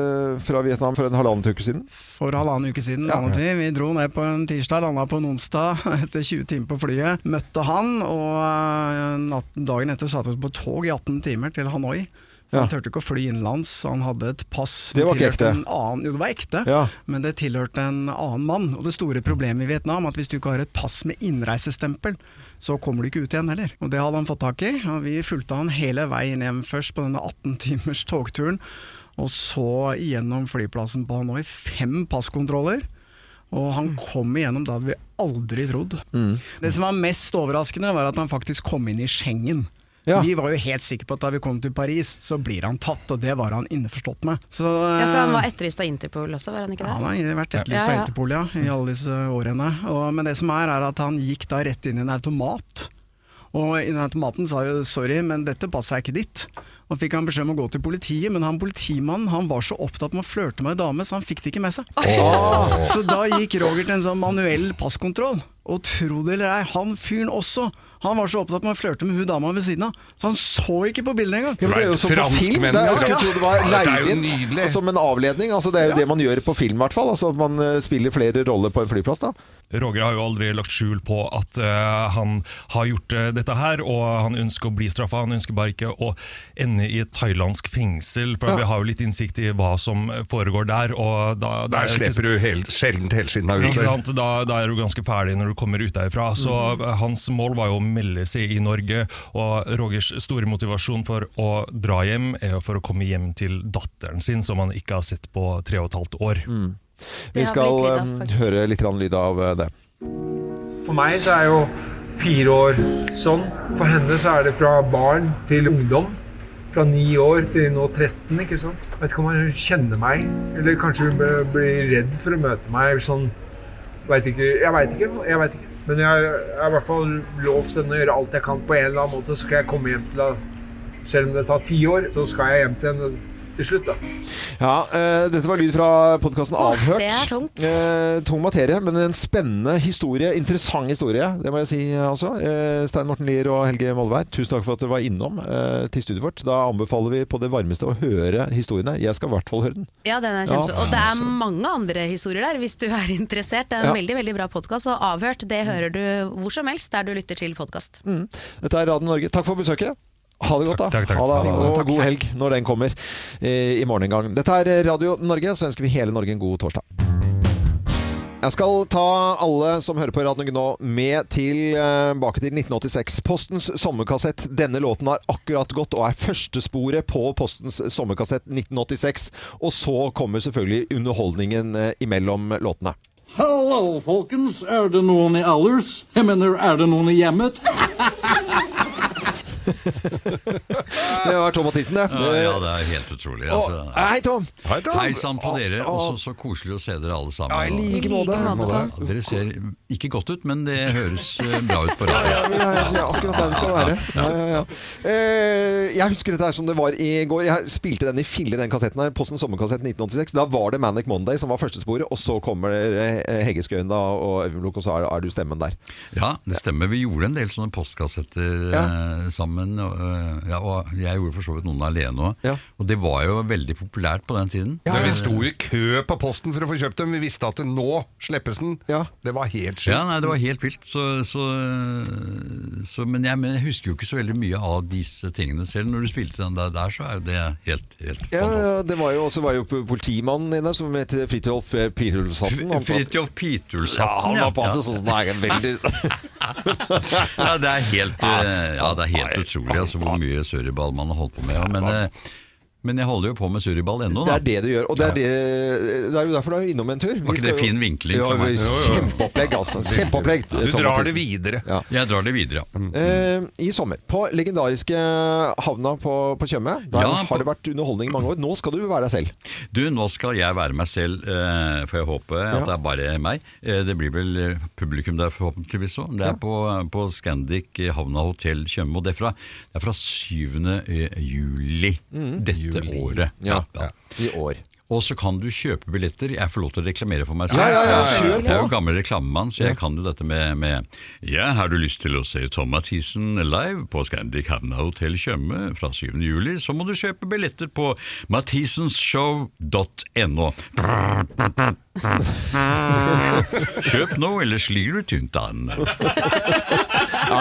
Speaker 1: eh, fra Vietnam for en halvannen uke siden.
Speaker 12: for halvannen uke siden. landet Vi Vi dro ned på en tirsdag, landa på en onsdag [laughs] etter 20 timer på flyet. Møtte han, og eh, natt- dagen etter satte vi oss på tog i 18 timer til Hanoi. For
Speaker 1: Ja.
Speaker 12: Han turte ikke å fly innenlands, så han hadde et pass som
Speaker 1: Det var ikke
Speaker 12: tilhørte
Speaker 1: ekte.
Speaker 12: en Annen, jo, det var ekte,
Speaker 1: Ja.
Speaker 12: men det tilhørte en annen mann. Og det store problemet i Vietnam er at hvis du ikke har et pass med innreisestempel, så kommer du ikke ut igjen heller. Og det hadde han fått tak i, og vi fulgte han hele veien hjem først på denne 18 timers togturen, og så gjennom flyplassen på Hanoi. Fem passkontroller. Og han kom igjennom, det hadde vi aldri trodd. Det som var mest overraskende, var at han faktisk kom inn i Schengen. Vi var jo helt sikre på at da vi kom til Paris, så blir han tatt, og det var han innforstått med. Så,
Speaker 1: Eh.
Speaker 3: Ja, for han var etterlyst av Interpol også, var han ikke det?
Speaker 12: han har vært etterlyst
Speaker 3: Ja,
Speaker 12: av
Speaker 3: ja.
Speaker 12: Interpol ja, i alle disse årene. Og, men det som er, er at han gikk da rett inn i en automat. Og i den automaten sa jo 'sorry, men dette passet er ikke ditt'. Og fikk han beskjed om å gå til politiet, men han politimannen han var så opptatt med å flørte med ei dame, så han fikk det ikke med seg. Ah,
Speaker 11: Åh.
Speaker 12: Så da gikk Roger til en sånn manuell passkontroll. Og tro det eller ei, han fyren også. Han var så opptatt med å flørte med hun dama ved siden av, så han så ikke på bildet engang.
Speaker 1: Ja, men det er jo som på film. Det er, jeg skulle tro det var
Speaker 2: Ja, dette er
Speaker 1: leid
Speaker 2: jo
Speaker 1: inn altså, som en avledning. Altså, det er jo det man gjør på film, i hvert fall. Altså, at man eh, spiller flere roller på en flyplass. Da.
Speaker 13: Roger har jo aldri lagt skjul på at eh, han har gjort eh, dette her, og han ønsker å bli straffa. Han ønsker bare ikke å ende i et thailandsk fengsel, for vi har jo litt innsikt i hva som foregår der. Og da, da
Speaker 2: Der
Speaker 13: er det ikke-
Speaker 2: slipper du liksom. hel, sjelden helskinna ut.
Speaker 13: Ikke sant? Da, da er du ganske ferdig når du kommer ut derfra. Så
Speaker 2: Mm.
Speaker 13: eh, hans mål var jo å melde seg i Norge, og Rogers store motivasjon for å dra hjem er jo for å komme hjem til datteren sin, som han ikke har sett på tre og et halvt år.
Speaker 1: Vi skal eh, høre litt grann lyd av eh, det.
Speaker 14: For meg så er jo fire år sånn. For henne så er det fra barn til ungdom. Fra ni år til nå 13, ikke sant. Jeg vet ikke om hun kjenner meg, eller kanskje hun bør- blir redd for å møte meg. eller Sånn, vet ikke, jeg veit ikke, jeg vet ikke. Men jeg jeg har i hvert fall lovt henne å gjøre alt jeg kan på en eller annen måte, så skal jeg komme hjem til henne. Selv om det tar ti år, så skal jeg hjem til henne til slutt, da.
Speaker 1: Ja, eh, dette var lyd fra podkasten Avhørt.
Speaker 14: det er tungt.
Speaker 1: Eh, tung materie, men en spennende historie. Interessant historie, det må jeg si eh, altså. Eh, Stein Morten Lier og Helge Molvær, tusen takk for at dere var innom eh, til studiet vårt. Da anbefaler vi på det varmeste å høre historiene. Jeg skal i hvert fall høre den.
Speaker 3: Ja, den er
Speaker 1: Ja,
Speaker 3: kjempe... Og det er
Speaker 1: faen,
Speaker 3: mange andre historier der, hvis du er [laughs] interessert. Det er en
Speaker 1: Ja.
Speaker 3: veldig veldig bra podkast, og Avhørt det hører du hvor som helst der du lytter til podkast.
Speaker 1: Mm. Dette er Radio Norge. Takk for besøket. Ha det godt, da.
Speaker 13: Takk, takk, takk.
Speaker 1: Ha det,
Speaker 13: Ha det.
Speaker 1: og god helg når den kommer eh, i morgen en gang. Dette er Radio Norge, så ønsker vi hele Norge en god torsdag. Jeg skal ta alle som hører på Radio Norge nå, med tilbake til 1986. Postens sommerkassett. Denne låten har akkurat gått og er førstesporet på Postens sommerkassett 1986. Og så kommer selvfølgelig underholdningen eh, imellom låtene.
Speaker 15: Hallo, folkens. Er det noen i Allers? Jeg mener, er det noen i
Speaker 1: [laughs]
Speaker 15: hjemmet?
Speaker 1: Det var Tom Mathisen, det.
Speaker 16: Ja, ja, det altså. er helt utrolig.
Speaker 1: Å, hei, Tom! Hei, Tom.
Speaker 16: sann på dere. Også så koselig å se dere alle sammen.
Speaker 1: Ja, i like måte. I like måte, Tom.
Speaker 16: Dere ser ikke godt ut, men det høres eh, bra ut på radio.
Speaker 1: Ja, ja, ja, ja, akkurat der vi skal være. Ja, ja, ja. Eh, jeg husker dette her som det var i går. Jeg spilte den i filler, den kassetten her. Posten Sommerkassett 1986. Da var det Manic Monday som var førstesporet, og så kommer eh, Heggeskøyen da, og Øyvind Blunk, og så er, er du stemmen der.
Speaker 16: Ja, det stemmer. Vi gjorde en del sånne postkassetter eh, sammen den, øh, ja, og jeg gjorde for så vidt noen alene òg. Og det var jo veldig populært på den tiden.
Speaker 2: Men vi sto i kø på posten for å få kjøpt dem. Vi visste at det nå slippes den. Det var helt sjukt.
Speaker 16: Ja, nei, det var helt vilt. Så, så, så, men, jeg, men jeg husker jo ikke så veldig mye av disse tingene selv. Når du spilte den der, der så er jo det helt, helt
Speaker 1: Ja, ja, det var jo også var jo politimannen inne, som het Fridtjof eh, Pirulshatten. Han-
Speaker 16: Fridtjof Pitulshatten,
Speaker 1: Ja, han
Speaker 16: ja.
Speaker 1: var på
Speaker 16: Ja.
Speaker 1: en sånn sånn egen veldig
Speaker 16: [laughs] ja, det er helt, eh, ja, det er helt utrolig altså, hvor mye surriball man har holdt på med. ja. Men, eh, men jeg holder jo på med surriball ennå.
Speaker 1: Det
Speaker 16: da.
Speaker 1: er det du gjør. Og det er, det, det er jo derfor du er innom en tur.
Speaker 16: Var ikke det fin vinkling
Speaker 1: Ja,
Speaker 16: fra meg?
Speaker 1: Kjempeopplegg, altså. Kjempeopplegg. Tom Mathisen.
Speaker 2: videre.
Speaker 16: Jeg drar det videre, ja.
Speaker 1: Eh, I sommer, på legendariske havna på, på Tjøme, der
Speaker 16: Ja,
Speaker 1: har det vært underholdning i mange år. Nå skal du være deg selv.
Speaker 16: Du, nå skal jeg være meg selv, eh, får jeg håpe at det er bare meg. Eh, Det blir vel eh, publikum der forhåpentligvis òg. Det er på, på Scandic eh, Havna Hotell Tjøme, og det er fra, det er fra 7. eh, juli
Speaker 1: Mm.
Speaker 16: dette året.
Speaker 1: Ja, I år.
Speaker 16: Og så kan du kjøpe billetter. Jeg får lov til å reklamere for meg selv.
Speaker 1: Ja, ja, ja, kjør
Speaker 16: Jeg er
Speaker 1: på.
Speaker 16: jo gammel reklamemann, så jeg kan jo dette med, med Ja, har du lyst til å se Tom Mathisen live på Scandic Havna Hotell Tjøme fra 7. juli, så må du kjøpe billetter på mathisenshow.no. Kjøp nå, ellers ligger du tynt an.
Speaker 1: Ja,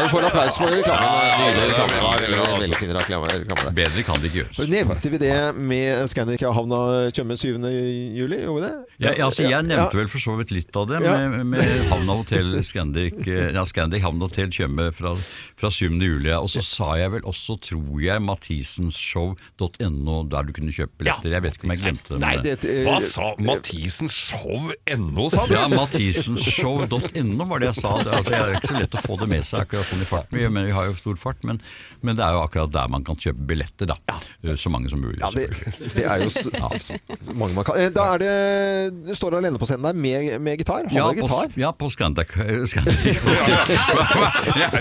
Speaker 1: du får en applaus for reklamen. Nydelig reklame.
Speaker 16: Ja, det var veldig bra, altså.
Speaker 1: Veldig fin reklame. reklame der.
Speaker 16: Bedre kan det ikke gjøres.
Speaker 1: Nevnte vi det med Scandic havna Tjøme 7. juli? Gjorde vi det?
Speaker 16: Ja, altså, jeg nevnte vel for så vidt litt av det,
Speaker 1: Ja.
Speaker 16: med, med Havna Hotel Scandic, eh, ja, Scandic Havna Hotel Tjøme fra, fra 7. juli. Og så sa jeg vel også, tror jeg, mathisenshow.no, der du kunne kjøpe billetter. Jeg vet ikke om jeg glemte det.
Speaker 2: Nei,
Speaker 16: men-
Speaker 2: det- Hva sa Mathisen Show NO, sa du?
Speaker 16: Ja, mathisenshow.no var det jeg sa. Det, altså, det er ikke så lett å få det med seg akkurat sånn i farten. Vi, men vi har jo stor fart, men, men det er jo akkurat der man kan kjøpe billetter, da. Eh, Så mange som mulig.
Speaker 1: Ja, det,
Speaker 16: selvfølgelig.
Speaker 1: det er jo s
Speaker 16: Ja.
Speaker 1: mange man kan eh, Da er det Du står alene på scenen der med, med gitar. Har
Speaker 16: Ja,
Speaker 1: du
Speaker 16: på,
Speaker 1: gitar?
Speaker 16: ja, på [laughs] Scandic. Scandic. ja, ja,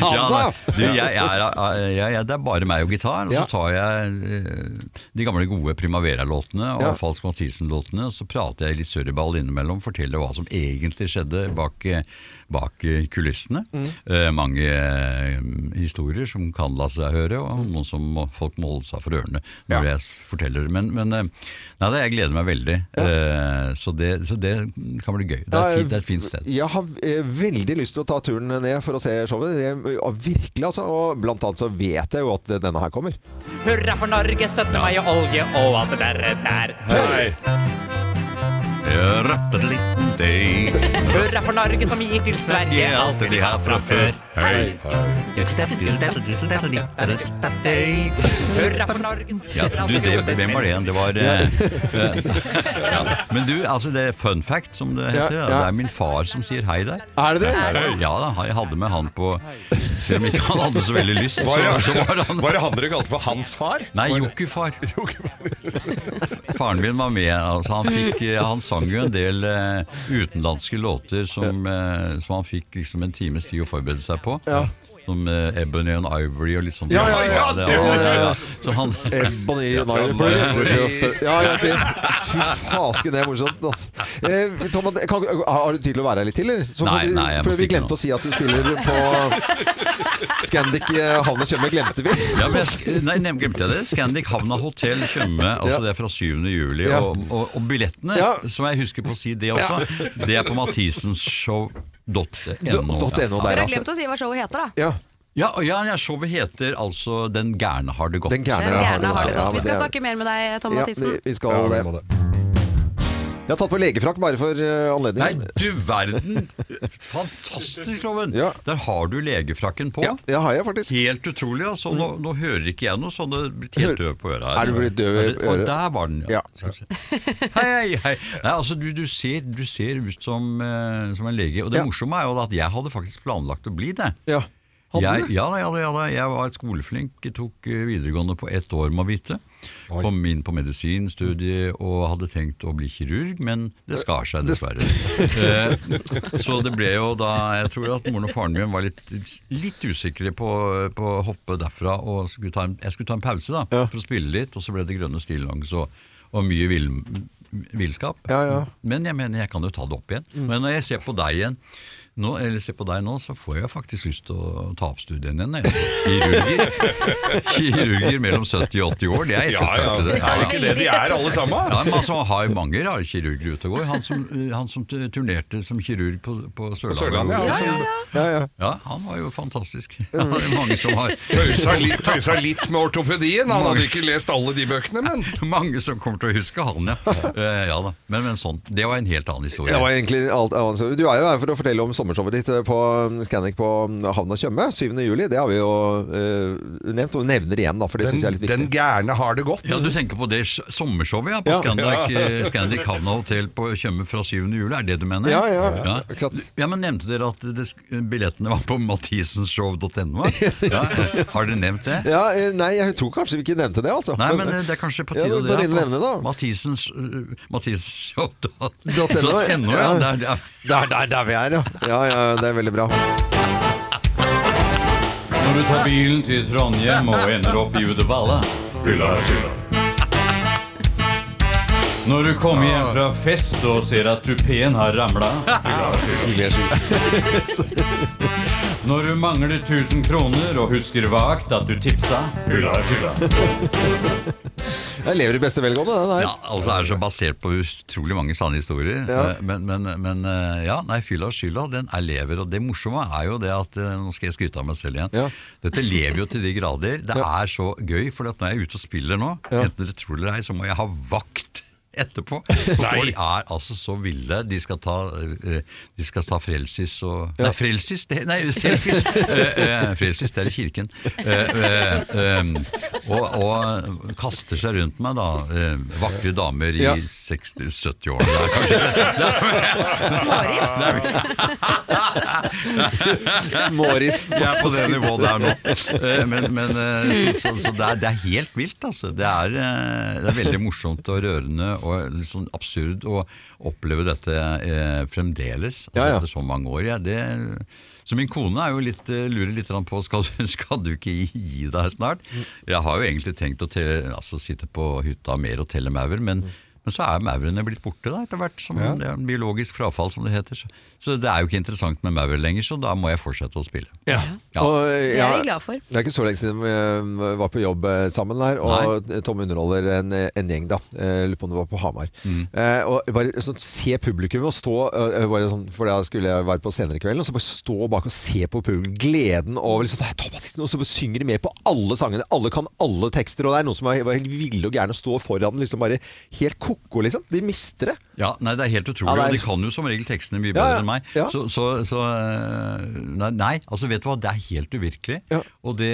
Speaker 16: ja, da. du, jeg, jeg, er- jeg, jeg, det er bare meg og gitar, og
Speaker 1: Ja.
Speaker 16: så tar jeg eh, de gamle gode Primavera-låtene og
Speaker 1: Ja.
Speaker 16: Falsk Mathisen-låtene, og så prater jeg litt surreball innimellom, forteller hva som egentlig skjedde bak, eh, bak eh, kulissene.
Speaker 1: Mm.
Speaker 16: Eh, mange eh, historier som kan la seg høre, og noen som må, folk må holde seg for ørene når jeg s- forteller. Men, men eh, nei, det, jeg gleder meg veldig, Eh, så, det, så det kan bli gøy. Det er, et fint, det er et fint sted.
Speaker 1: Jeg har eh, veldig lyst til å ta turen ned for å se showet. Det, ja, virkelig, altså. Og blant annet så vet jeg jo at denne her kommer.
Speaker 5: Hurra for Norge, 17. mai og olje og alt det derre der.
Speaker 1: Hei.
Speaker 5: Hurra for Norge som gir til Sverige alt det de har fra før.
Speaker 16: Hei.
Speaker 5: Hurra for Norge som
Speaker 16: Ja,
Speaker 5: gir alt
Speaker 16: du,
Speaker 5: det
Speaker 16: det,
Speaker 5: gode
Speaker 16: hvem var det igjen? Det var eh,
Speaker 5: [laughs]
Speaker 16: ja. Men du, altså det er fun fact, som det
Speaker 1: Ja,
Speaker 16: heter. da.
Speaker 1: ja.
Speaker 16: Det er min far som sier hei der.
Speaker 1: Er det det?
Speaker 16: Ja da, jeg hadde med han på Selv om ikke han hadde så veldig lyst, så,
Speaker 2: Var det,
Speaker 16: så var han
Speaker 2: var det han dere kalte for hans
Speaker 16: [laughs]
Speaker 2: far?
Speaker 16: Nei, jokkifar. Faren min var med. Altså, han, fikk, eh, han sang jo en del eh, utenlandske låter som, eh, som han fikk liksom en times tid å forberede seg på. Som eh, Ebony and Ivory og litt sånt.
Speaker 1: Ja, ja, ja,
Speaker 16: det,
Speaker 1: det var-
Speaker 16: Så han,
Speaker 1: Ebony and Ivory. Ja, ja, det, fy fasken, det er morsomt. Altså. Eh, Tom, kan, har du tid til å være her litt til, eller? Så
Speaker 16: Nei,
Speaker 1: for,
Speaker 16: nei, jeg må
Speaker 1: for vi
Speaker 16: stikke nå.
Speaker 1: glemte å si at du spiller på Scandic eh, Havn og Tjøme, glemte vi.
Speaker 16: Ja, men jeg, sk- nei, nem- glemte jeg det? Scandic Havna Hotell Tjøme, altså det er fra 7. juli.
Speaker 1: Ja.
Speaker 16: Og, og, og billettene,
Speaker 1: Ja.
Speaker 16: som jeg husker på å si det også, det er på mathisenshow.no.
Speaker 1: Dot- dot .no der, altså.
Speaker 3: Dere har glemt å si hva showet heter, da.
Speaker 1: Ja.
Speaker 16: Ja, og ja, ja, showet heter altså Den gærne har det godt. Den
Speaker 1: gærne Den har det gærne har godt, det ja, godt.
Speaker 3: Vi skal snakke mer med deg, Tom Mathisen.
Speaker 1: vi, vi skal det. Jeg har tatt på legefrakk bare for eh, anledningen.
Speaker 16: Nei, du verden! Fantastisk, Loven! Der har du legefrakken på.
Speaker 1: Ja, det har jeg faktisk.
Speaker 16: Helt utrolig. altså. Nå, nå hører ikke jeg noe sånn. Det er blitt helt døv på øret her.
Speaker 1: Er du blitt døv i
Speaker 16: Er det- Og
Speaker 1: øret?
Speaker 16: der var den, ja. Skal vi se. Hei, hei, hei. Nei, altså, du, du, ser, du ser ut som, eh, som en lege. Og det morsomme er jo at jeg hadde faktisk planlagt å bli det.
Speaker 1: Ja. Hadde
Speaker 16: jeg,
Speaker 1: du?
Speaker 16: ja, da, ja, da, ja da. Jeg var skoleflink, tok eh, videregående på ett år, må vite. Kom inn på medisinstudiet og hadde tenkt å bli kirurg, men det skar seg dessverre. Eh, Så det ble jo da Jeg tror at moren og faren min var litt, litt usikre på, på å hoppe derfra. Og skulle ta en, jeg skulle ta en pause da, for å spille litt, og så ble det grønne stillongs og, og mye vill,
Speaker 2: Mm.
Speaker 16: villskap. Men jeg mener, jeg kan jo ta det opp igjen. Men når jeg ser på deg igjen nå, eller se på deg nå, så får jeg faktisk lyst til å ta opp studien igjen. jeg.
Speaker 2: [laughs]
Speaker 16: Kirurger. Kirurger mellom 70 og 80 år, det er
Speaker 2: Ja, ja.
Speaker 16: ettertraktet.
Speaker 2: Er det ikke det de er, alle sammen?
Speaker 16: Ja, men altså, har mange rare kirurger ute og går. Han som, han som turnerte som kirurg på, på Sørlandet.
Speaker 2: Sørlandet, ja.
Speaker 16: og som-
Speaker 2: Ja, ja, Mm.
Speaker 16: Ja, han var jo fantastisk. Ja, det er mange som har
Speaker 2: Tøysa litt- tøysa litt med ortopedien. Han hadde ikke lest alle de bøkene, men
Speaker 16: [laughs] Mange som kommer til å huske han, ja. Eh, ja da. Men, men sånn, det var en helt annen historie.
Speaker 1: Det var egentlig alt annet. Du er jo her for å fortelle om sommershowet ditt på um, Scandic på um, Havna Tjøme 7. juli. Det har vi jo eh, nevnt, og nevner igjen, da, for det syns jeg er litt viktig.
Speaker 2: gærne har det godt.
Speaker 16: Ja, Du tenker på det s- sommershowet ja, på
Speaker 1: Ja.
Speaker 16: Scandic,
Speaker 1: Ja.
Speaker 16: eh, Scandic Havna Hotel på Tjøme fra 7. juli, er det det du mener?
Speaker 1: Ja, ja,
Speaker 16: Ja, men Nevnte dere at det, sk- billettene var på mathisen-show.no? Ja. Har dere nevnt det?
Speaker 1: Ja, eh, nei, jeg tror kanskje vi ikke nevnte det, altså.
Speaker 16: Nei, men eh, det er kanskje på
Speaker 1: Ja,
Speaker 16: tide
Speaker 1: men på tide å nevne det, da.
Speaker 16: Mathisens uh,
Speaker 1: .no, ja.
Speaker 16: ja. Der, der.
Speaker 1: Der, der, der vi er, ja. ja. Ja, det er veldig bra.
Speaker 17: Når du tar bilen til Trondheim og ender opp i Uddevalla Fylla er skylda. Når du kommer hjem fra fest og ser at tupeen har ramla Fylla er skylda. Når du mangler 1000 kroner og husker vagt at du tipsa Fylla er skylda.
Speaker 1: Jeg lever i beste velgående, den her.
Speaker 16: Ja, altså er det så basert på utrolig mange sanne historier.
Speaker 1: Ja.
Speaker 16: Eh, Men, men, men eh, ja, nei, fylla og skylda, den er lever. Og det morsomme er jo det at eh, Nå skal jeg skryte av meg selv igjen. Dette lever jo til de grader. Det er så gøy, for at når jeg er ute og spiller nå, enten dere tror det eller ei, så må jeg ha vakt. Etterpå. For
Speaker 2: Nei.
Speaker 16: folk er altså så ville. De skal ta, eh, de skal ta frelsis og Nei, frelsis! Det, nei, selfies! [laughs] Eh, eh, frelsis, det er i kirken. Eh, eh, em, og, og kaster seg rundt meg, da. eh, vakre damer i
Speaker 2: Ja.
Speaker 16: 60-70-årene der, kanskje. [laughs]
Speaker 1: Smårips.
Speaker 16: Jeg er på det nivået der nå. Eh, Men, men eh, så, så, så det, er, det er helt vilt, altså. Det er, eh, det er veldig morsomt og rørende og litt sånn absurd å oppleve dette eh, fremdeles, altså etter så mange år. Ja, det, så min kone er jo litt, eh, lurer litt grann på skal, [laughs] du- skal du ikke gi- gi deg snart. Jeg har jo egentlig tenkt å telle, altså, sitte på hytta mer og telle maur, men men så er maurene blitt borte da, etter hvert. Som
Speaker 2: Ja.
Speaker 16: det er en biologisk frafall, som det heter. Så, så det er jo ikke interessant med maur lenger, så da må jeg fortsette å spille. Ja.
Speaker 1: Og, eh,
Speaker 3: Det
Speaker 1: ja,
Speaker 3: er vi glad for.
Speaker 1: Det er ikke så lenge siden vi eh, var på jobb eh, sammen her, og eh, Tom underholder en, en gjeng, da. Eh, Lurer på om det var på Hamar. Eh, og bare sånn, se publikum og stå eh, bare sånn, For da skulle jeg være på senere i kvelden, og så bare stå bak og se på publikum. Gleden over liksom, det er Tom Mathisen, Og så bare synger de med på alle sangene. Alle kan alle tekster, og det er noen som er, var helt ville og gærne og står foran liksom bare helt ko-ko, liksom. De mister det.
Speaker 16: Ja, nei, Det er helt utrolig.
Speaker 1: Ja, det er-
Speaker 16: Og de kan jo som regel tekstene mye
Speaker 1: Ja,
Speaker 16: bedre
Speaker 1: ja,
Speaker 16: enn meg.
Speaker 1: ja.
Speaker 16: Så, så, så eh, nei, nei, altså vet du hva, det er helt uvirkelig. Og, det,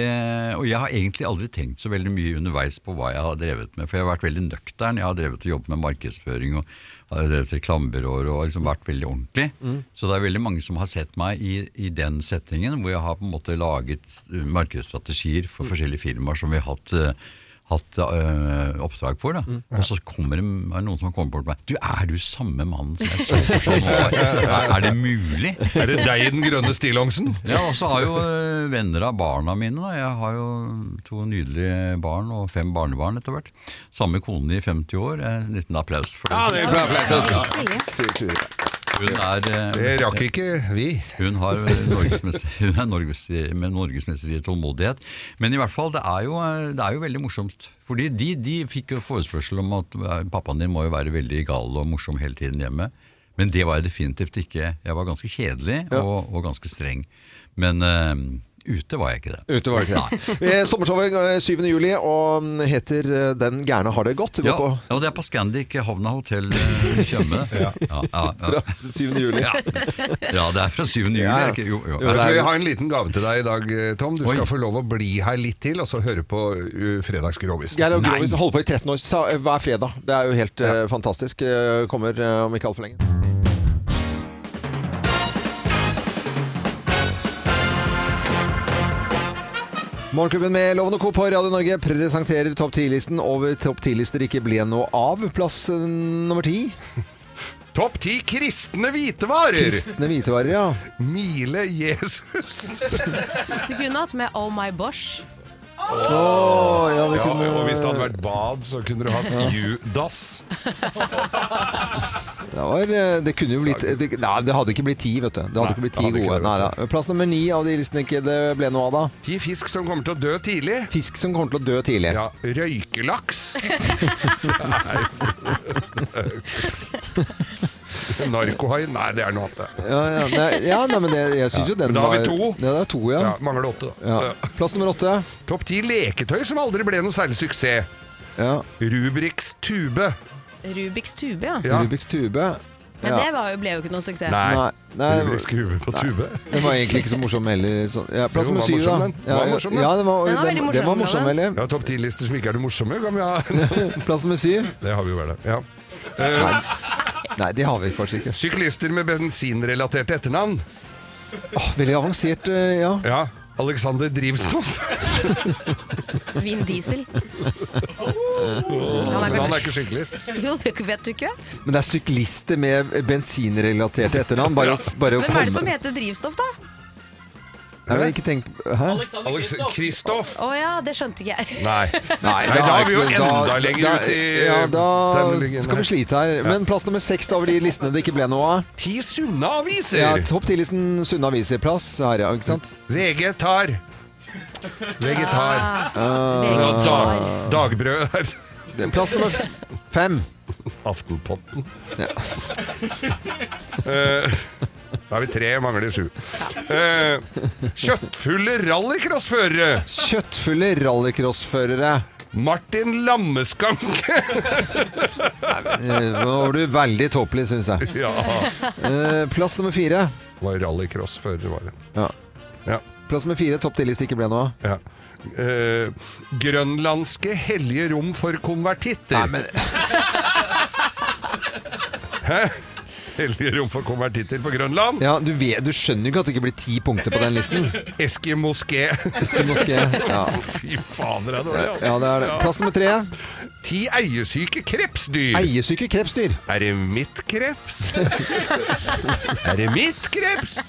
Speaker 16: og jeg har egentlig aldri tenkt så veldig mye underveis på hva jeg har drevet med. For jeg har vært veldig nøktern. Jeg har drevet og jobbet med markedsføring og har drevet reklamebyråer og liksom vært veldig ordentlig.
Speaker 2: Mm.
Speaker 16: Så det er veldig mange som har sett meg i, i den settingen hvor jeg har på en måte laget eh, markedsstrategier
Speaker 2: Mm.
Speaker 16: for forskjellige firmaer som vi har hatt eh, hatt eh, oppdrag for. Da.
Speaker 2: Mm.
Speaker 16: Og så kommer det er det noen som har kommet bort til meg. Du, er du samme mannen som jeg så for sånn
Speaker 2: [laughs]
Speaker 16: år? Er, er det mulig?
Speaker 2: Er det deg i den grønne stillongsen?
Speaker 16: Ja, og så har jo eh, venner av barna mine. Da. Jeg har jo to nydelige barn og fem barnebarn etter hvert. Samme kone i 50 år. Eh, En liten applaus for
Speaker 2: Ja, det er bra applaus.
Speaker 16: Hun er eh,
Speaker 2: Det rakk ikke vi.
Speaker 16: Hun, har norgesmester, hun er norgesmester med norgesmester i tålmodighet. Men i hvert fall, det er jo, eh, det er jo veldig morsomt. Fordi de, de fikk jo forespørsel om at eh, pappaen din må jo være veldig gal og morsom hele tiden hjemme. Men det var jeg definitivt ikke. Jeg var ganske kjedelig og, og ganske streng. Men eh, ute var jeg ikke det.
Speaker 1: Ute var det ikke [laughs] det. Eh, Sommershowet eh, 7. juli, og mm, heter eh, Den gærne har det godt. Gå
Speaker 16: Ja,
Speaker 1: på
Speaker 16: ja, og det er på Scandic Havna Hotell eh, Tjømme.
Speaker 1: Ja. Fra 7. juli.
Speaker 16: Ja,
Speaker 1: [laughs]
Speaker 16: ja det er fra 7. juli.
Speaker 2: Ja, ja.
Speaker 16: er det ikke? Jo, jo.
Speaker 2: Jeg tror jeg har en liten gave til deg i dag, eh, Tom. Du
Speaker 16: Oi.
Speaker 2: skal få lov å bli her litt til, og så høre på uh, Fredagsgrovisen.
Speaker 1: Geir og Grovis holder på i 13 år sa- eh, hver fredag. Det er jo helt eh, fantastisk. Eh, Kommer eh, om ikke altfor lenge. Morgenklubben med Loven og Co. på Radio Norge presenterer topp 10-listen over topp 10-lister ikke ble noe av. Plass eh, nummer ti.
Speaker 2: Topp ti kristne hvitevarer!
Speaker 1: Kristne hvitevarer, ja.
Speaker 2: Mile Jesus.
Speaker 3: Du kunne hatt med Oh My Bosh.
Speaker 1: Åh, ja, vi
Speaker 2: Ja,
Speaker 1: kunne-
Speaker 2: og hvis det hadde vært bad, så kunne du hatt U-dass.
Speaker 1: Det, var, eh, det kunne jo blitt det, Nei, det hadde ikke blitt ti, vet du. Det hadde ikke blitt ti gode. Nei, da. Plass nummer ni av de listene ikke det ble noe av, da.
Speaker 2: Ti fisk som kommer til å dø tidlig.
Speaker 1: Fisk som kommer til å dø tidlig.
Speaker 2: Ja, røykelaks.
Speaker 16: [laughs]
Speaker 2: Nei. [laughs] Narkohai? Nei, det er noe annet.
Speaker 1: Ja, ja, nei, ja nei, men det, jeg syns
Speaker 2: Ja,
Speaker 1: jo den
Speaker 2: men da har vi to.
Speaker 1: Ja, det er to, ja.
Speaker 2: Ja, mangler åtte, da.
Speaker 1: Ja.
Speaker 2: Ja.
Speaker 1: Plass nummer åtte.
Speaker 2: Topp ti leketøy som aldri ble noe særlig suksess. Rubriks tube.
Speaker 18: Rubiks tube, ja.
Speaker 1: Rubiks tube.
Speaker 18: Men
Speaker 1: Ja.
Speaker 18: det var jo, ble jo ikke noe suksess.
Speaker 1: Nei. Nei.
Speaker 2: Rubiks tube på tube.
Speaker 1: Den var egentlig ikke så morsom heller. Så, ja, plass
Speaker 2: Jo,
Speaker 1: nummer
Speaker 2: var
Speaker 1: syv, da.
Speaker 2: morsom, den.
Speaker 1: Ja,
Speaker 2: Var
Speaker 1: ja,
Speaker 2: morsom, den.
Speaker 1: ja, den var,
Speaker 18: Den var
Speaker 1: den,
Speaker 18: veldig morsom,
Speaker 1: den var
Speaker 18: den
Speaker 1: morsom,
Speaker 18: var.
Speaker 1: eller?
Speaker 2: Ja, Topp ti-lister som ikke er det morsomme, kan vi ha.
Speaker 1: [laughs] Plass nummer syv.
Speaker 2: Det har vi jo hver dag. Ja. Eh,
Speaker 1: Nei. Nei, det har vi faktisk ikke.
Speaker 2: Syklister med bensinrelaterte etternavn.
Speaker 1: veldig avansert, eh, ja.
Speaker 2: ja. Alexander Drivstoff.
Speaker 18: Vin
Speaker 2: [laughs]
Speaker 18: Diesel.
Speaker 2: Han
Speaker 18: er
Speaker 2: er,
Speaker 18: kanskje-
Speaker 2: ikke syklist.
Speaker 3: [laughs]
Speaker 18: Jo, det vet du ikke.
Speaker 1: Men det er syklister med bensinrelaterte etternavn. Bare, å- bare å
Speaker 18: Hvem er det
Speaker 1: komme
Speaker 18: som heter drivstoff, da?
Speaker 1: Nei, men ikke tenk Hæ?
Speaker 18: Alexander
Speaker 2: Alex- Kristoff. Kristoff.
Speaker 18: Å ja, det skjønte ikke jeg.
Speaker 2: Nei.
Speaker 3: [laughs]
Speaker 1: Nei,
Speaker 2: da er vi jo
Speaker 1: ikke-
Speaker 2: enda
Speaker 1: da-
Speaker 2: lenger
Speaker 1: da-
Speaker 2: ut i
Speaker 1: Ja,
Speaker 2: terminologien
Speaker 1: da skal
Speaker 2: her.
Speaker 1: vi slite her. Men plass nummer seks da over de listene det ikke ble noe av.
Speaker 2: Ti sunne aviser!
Speaker 1: Ja, topp ti-listen Sunne aviser-plass her, ja. Ikke sant?
Speaker 2: VG tar. VG tar.
Speaker 1: VG
Speaker 2: dag,
Speaker 1: tar.
Speaker 2: dagbrød her.
Speaker 1: Plass nummer f- fem.
Speaker 2: Aftenpotten.
Speaker 1: Ja.
Speaker 2: Eh, da er vi tre, mangler sju. Eh, kjøttfulle rallycrossførere.
Speaker 1: Kjøttfulle rallycrossførere.
Speaker 2: Martin Lammeskanke.
Speaker 1: Eh, Nå var du veldig tåpelig, syns jeg.
Speaker 2: Ja.
Speaker 1: Eh, Plass nummer fire.
Speaker 2: Var rallycrossfører, var det.
Speaker 1: Ja.
Speaker 2: Ja.
Speaker 1: Plass nummer fire, topp ti-liste ikke ble noe av.
Speaker 2: Ja. Eh, grønlandske hellige rom for konvertitter. Nei, men... [laughs] Hæ? Hellige rom for konvertitter på Grønland?
Speaker 1: Ja, du, vet, du skjønner jo ikke at det ikke blir ti punkter på den listen.
Speaker 2: Eskimoské.
Speaker 1: Eskimoské, ja.
Speaker 2: [laughs] Fy fader, det er dårlig. altså.
Speaker 1: Ja, det er det. Plass nummer tre.
Speaker 2: Ti eiesyke krepsdyr.
Speaker 1: Eiesyke krepsdyr.
Speaker 2: Eremittkreps. Eremittkreps.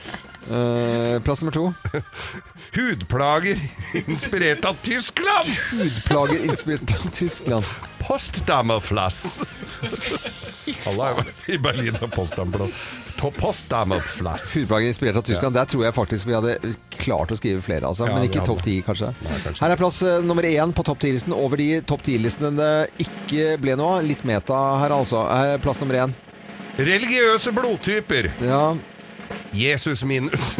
Speaker 1: Eh, plass nummer to.
Speaker 2: [laughs] Hudplager inspirert av Tyskland.
Speaker 1: Hudplager inspirert av Tyskland.
Speaker 2: Postdamerflass. Alle har jo vært i Berlin og postdamerflass. To- Postdamerflass.
Speaker 1: Hudplager inspirert av Tyskland. Der tror jeg faktisk vi hadde klart å skrive flere, altså.
Speaker 2: Ja,
Speaker 1: men
Speaker 2: vi
Speaker 1: ikke
Speaker 2: hadde.
Speaker 1: topp ti, kanskje. Her er plass eh, nummer én på topp ti-listen over de topp ti-listene det ikke ble noe av. Litt meta her, altså. Eh, Plass nummer én.
Speaker 2: Religiøse blodtyper.
Speaker 1: Ja.
Speaker 2: Jesus
Speaker 1: [laughs]
Speaker 2: minus.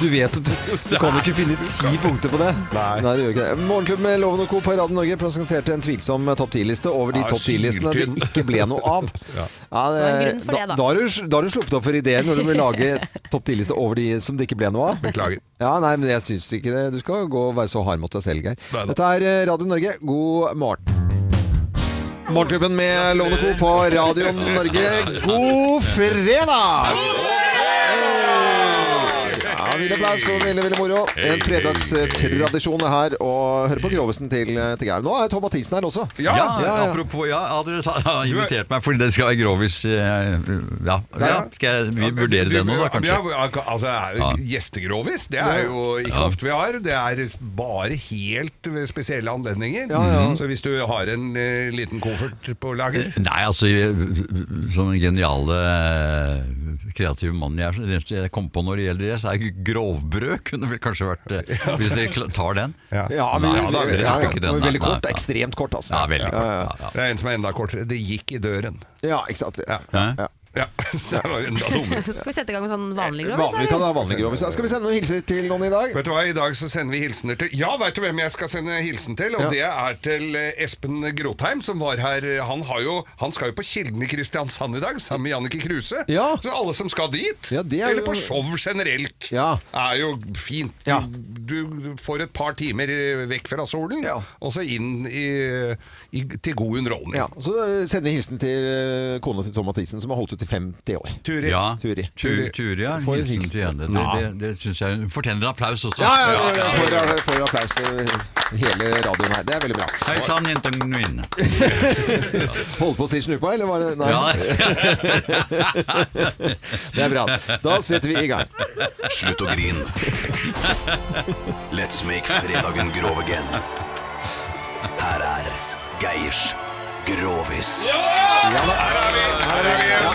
Speaker 1: Du vet at du, du kan jo ikke finne ti punkter på det. Nei, det gjør ikke det. Morgenklubben med Loven og Co. på Radio Norge presenterte en tvilsom topp ti-liste over de
Speaker 2: Ja,
Speaker 1: topp ti-listene det
Speaker 2: syltynn.
Speaker 1: ikke ble noe av.
Speaker 2: Ja.
Speaker 1: Ja,
Speaker 2: Det var en grunn for
Speaker 1: da,
Speaker 2: det, da.
Speaker 1: da har du, da har du sluppet opp for ideer når du vil
Speaker 2: [laughs]
Speaker 1: lage topp ti-liste over de som det ikke ble noe av.
Speaker 2: Beklager.
Speaker 1: Ja, nei, men jeg syns ikke det. Du skal gå og være så hard mot deg selv, Geir.
Speaker 2: Neida.
Speaker 1: Dette er eh, Radio Norge, god morgen. Morgenklubben med Loven og Co. på Radio Norge, god fredag! Ja, Ville applaus og ville, ville moro. En fredagstradisjon er her å høre på grovesen til, til Geir. Nå er Tom Mathisen her også.
Speaker 16: Ja, apropos Ja, ja, dere ta- har invitert meg fordi det skal være grovis. eh, Ja, ja. Skal jeg, vi vurdere det nå, da,
Speaker 2: Ja,
Speaker 16: kanskje?
Speaker 2: altså, er-
Speaker 16: Ja.
Speaker 2: gjestegrovis, det er jo ikke
Speaker 16: Ja.
Speaker 2: ofte vi har. Det er bare helt ved spesielle anledninger. Så hvis du har en eh, liten koffert på lager
Speaker 16: Nei, altså Som den geniale, eh, kreative mannen jeg er, så det eneste jeg kom på når det gjelder det, så er grovbrød kunne vel kanskje vært [laughs] eh, Hvis dere kla- tar den?
Speaker 1: Ja, vi-
Speaker 16: Nei,
Speaker 1: vi-
Speaker 16: dere
Speaker 1: ja,
Speaker 16: tok
Speaker 1: ja.
Speaker 16: ikke
Speaker 1: Det
Speaker 16: den,
Speaker 1: var
Speaker 16: nei,
Speaker 1: veldig
Speaker 16: nei,
Speaker 1: kort,
Speaker 16: nei.
Speaker 1: ekstremt kort, altså.
Speaker 16: Ja, veldig kort. Ja, ja.
Speaker 2: Det er en som er enda kortere. Det gikk i døren.
Speaker 1: Ja, ikke sant. Ja.
Speaker 16: Ja.
Speaker 2: [laughs] Det var enda dummere.
Speaker 18: Skal vi sette i gang med sånn vanlig grovis?
Speaker 1: Eh, Vanlig kan det være vanlig grovis. Ja, Skal vi sende noen hilser til noen i dag?
Speaker 2: Vet du hva, I dag så sender vi hilsener til Ja, veit du hvem jeg skal sende hilsen til? Og det er til eh, Espen Grotheim, som var her. eh, Han, har jo, han skal jo på Kilden i Kristiansand i dag, sammen med Jannicke Kruse. Så alle som skal dit,
Speaker 1: er
Speaker 2: eller
Speaker 1: jo-
Speaker 2: på show generelt, er jo fint. Du, du får et par timer eh, vekk fra solen, og så inn i, i, til god underholdning.
Speaker 1: Ja, så eh, sender vi hilsen til eh, kona til Tom Mathisen, som har holdt ut i 50 år.
Speaker 2: Turi.
Speaker 16: Ja.
Speaker 1: Turi.
Speaker 16: Turi, Turi ja.
Speaker 1: Får en
Speaker 16: Hilsen til henne. Det,
Speaker 1: Ja.
Speaker 16: det, det syns jeg hun fortjener en applaus også.
Speaker 1: Ja, ja, ja, ja. Får, får applaus. eh, Hele radioen her. Det er veldig bra.
Speaker 16: Hei sann, jentene mine.
Speaker 1: [laughs] Holdt på å si snupa, eller var det Nei. [laughs] det er bra. Da setter vi i gang.
Speaker 19: Slutt å grine. Let's make fredagen grov again. Her er Geirs Grovis.
Speaker 1: Ja, nå er,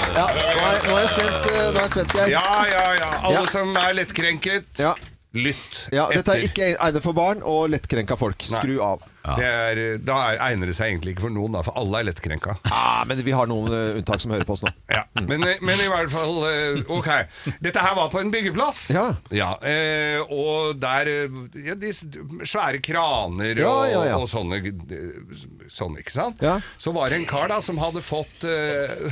Speaker 1: nå er jeg spent, eh, nå er jeg spent Geir.
Speaker 2: Ja, ja, ja. Alle
Speaker 1: Ja.
Speaker 2: som er lettkrenket,
Speaker 1: Ja.
Speaker 2: lytt
Speaker 1: Ja, dette er
Speaker 2: etter.
Speaker 1: ikke egnet for barn og lettkrenka folk.
Speaker 2: Nei.
Speaker 1: Skru av.
Speaker 2: Det er, da er, egner det seg egentlig ikke for noen, da, for alle er lettkrenka.
Speaker 1: Ah, men vi har noen eh, unntak som hører på oss nå. Mm.
Speaker 2: Ja. Men, men i hvert fall eh, Ok. Dette her var på en byggeplass. Ja. eh, og der eh, ja, de s- Svære kraner
Speaker 1: Ja,
Speaker 2: og,
Speaker 1: ja, ja.
Speaker 2: og sånne, eh, sånne, ikke sant?
Speaker 1: Ja.
Speaker 2: Så var det en kar da som hadde fått eh,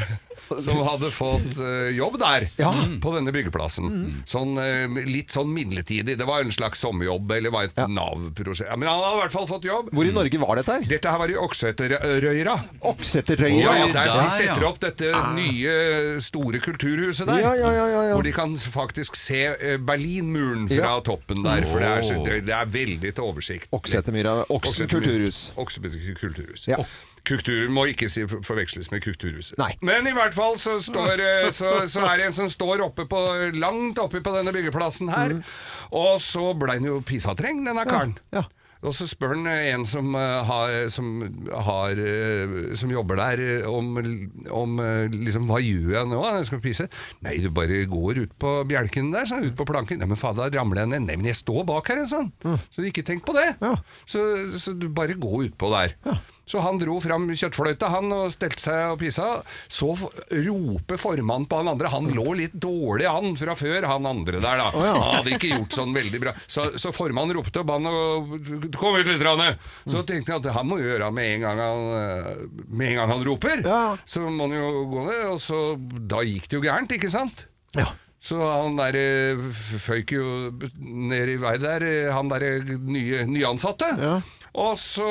Speaker 2: som hadde fått eh, jobb der, på denne byggeplassen.
Speaker 1: Mm.
Speaker 2: Sånn, eh, litt sånn midlertidig. Det var en slags sommerjobb, eller var et Nav-prosjekt. Ja, men han hadde i hvert fall fått jobb.
Speaker 1: Hvor i Norge var dette her?
Speaker 2: Dette her var i Okseterøyra.
Speaker 1: Okseterøya?
Speaker 2: Ja, ja, der, de setter opp dette
Speaker 1: Ah.
Speaker 2: nye, store kulturhuset der.
Speaker 1: Ja, ja, ja, ja, ja.
Speaker 2: Hvor de kan faktisk se eh, Berlinmuren fra
Speaker 1: Ja.
Speaker 2: toppen der. For det er, så,
Speaker 1: Åh.
Speaker 2: det, det er veldig til oversikt.
Speaker 1: Oksetermyra. Oksen kulturhus.
Speaker 2: Oksetermyra kulturhus.
Speaker 1: Ja.
Speaker 2: Kultur må ikke si, forveksles med Kulturhuset.
Speaker 1: Nei.
Speaker 2: Men i hvert fall så, står, eh, så, så er det en som står oppe på, langt oppe på denne byggeplassen her, og så ble han jo pisatreng, denne karen. Og så spør han eh, en som, eh, har, som, har, eh, som jobber der, eh, om, om eh, liksom, hva gjør jeg nå? Jeg skal pise. Nei, du bare går ut på bjelken der, sa han. Ut på planken. Nei, men faen, da ramler jeg ned. Nei, men jeg står bak her, sa han. Så ikke tenk på det. Så, så du bare gå utpå der. Så han dro fram kjøttfløyta han og stelte seg og pissa. Så f- roper formannen på han andre. Han lå litt dårlig an fra før, han andre der, da.
Speaker 1: Å, ja.
Speaker 2: Han hadde ikke gjort sånn veldig bra. Så, så formannen ropte og ba han å komme ut litt. Ranne. Så tenkte han at det han må jo gjøre med en gang han, eh, med en gang han roper. Så må han jo gå ned. Og så Da gikk det jo gærent, ikke sant? Så han der eh, f- føyk jo ned i vei der, eh, han der eh, nye, nyansatte. Og så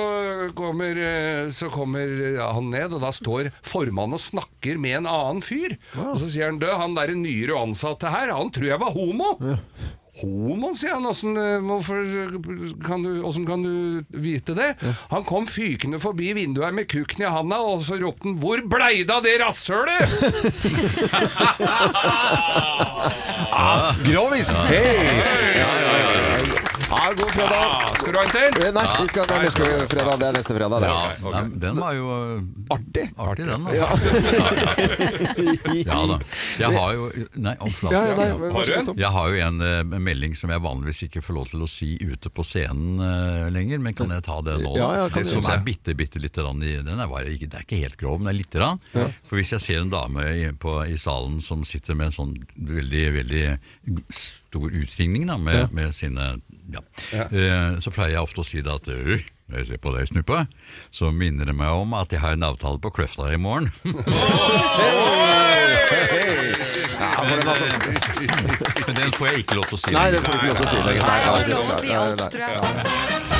Speaker 2: kommer, eh, så kommer han ned, og da står formannen og snakker med en annen fyr. Og så sier han, død, han der nyere ansatte her, han tror jeg var homo. Homo, sier han. Åssen eh, hvorfor kan, du- åssen kan du vite det? Han kom fykende forbi vinduet her med kukken i handa, og så ropte han 'Hvor blei det av det rasshølet?'
Speaker 1: [laughs] Ah, grovis! Hei! Ja, god fredag.
Speaker 2: Skal du ha en til?
Speaker 1: Eh, Nei, vi skal, det er neste fredag. Det er neste fredag det.
Speaker 16: Ja, nei, den var jo eh,
Speaker 1: artig.
Speaker 16: Artig, den,
Speaker 1: Ja.
Speaker 2: [laughs]
Speaker 16: altså. [laughs] Ja da. Jeg har jo Nei, om flaten.
Speaker 1: Ja, ja, nei, hva- hva skal du ta om?
Speaker 16: Jeg har jo en eh, melding som jeg vanligvis ikke får lov til å si ute på scenen eh, lenger, men kan jeg ta det nå?
Speaker 1: Ja, ja, kan
Speaker 16: det
Speaker 1: du
Speaker 16: som
Speaker 1: gjøre.
Speaker 16: er bitte, bitte lite grann i den er bare, ikke, Det er ikke helt grov, men det er lite grann.
Speaker 1: Ja.
Speaker 16: For hvis jeg ser en dame i, på, i salen som sitter med en sånn veldig, veldig stor utringning da, med,
Speaker 1: Ja.
Speaker 16: med sine ja. Eh, Så pleier jeg ofte å si det at «Øh, når jeg ser på deg, Snuppe, så minner det meg om at jeg har en avtale på Kløfta i
Speaker 1: [laughs]
Speaker 16: morgen.
Speaker 1: Ja, for den, sånn-
Speaker 16: Men den får jeg ikke lov til å si.
Speaker 1: Nei, den får du ikke lov til å si lenger.
Speaker 16: Nei,
Speaker 1: Nei,
Speaker 16: det
Speaker 1: nei,
Speaker 16: er lov å
Speaker 1: nei,
Speaker 16: si
Speaker 1: nei,
Speaker 16: alt,
Speaker 1: nei.
Speaker 16: tror jeg.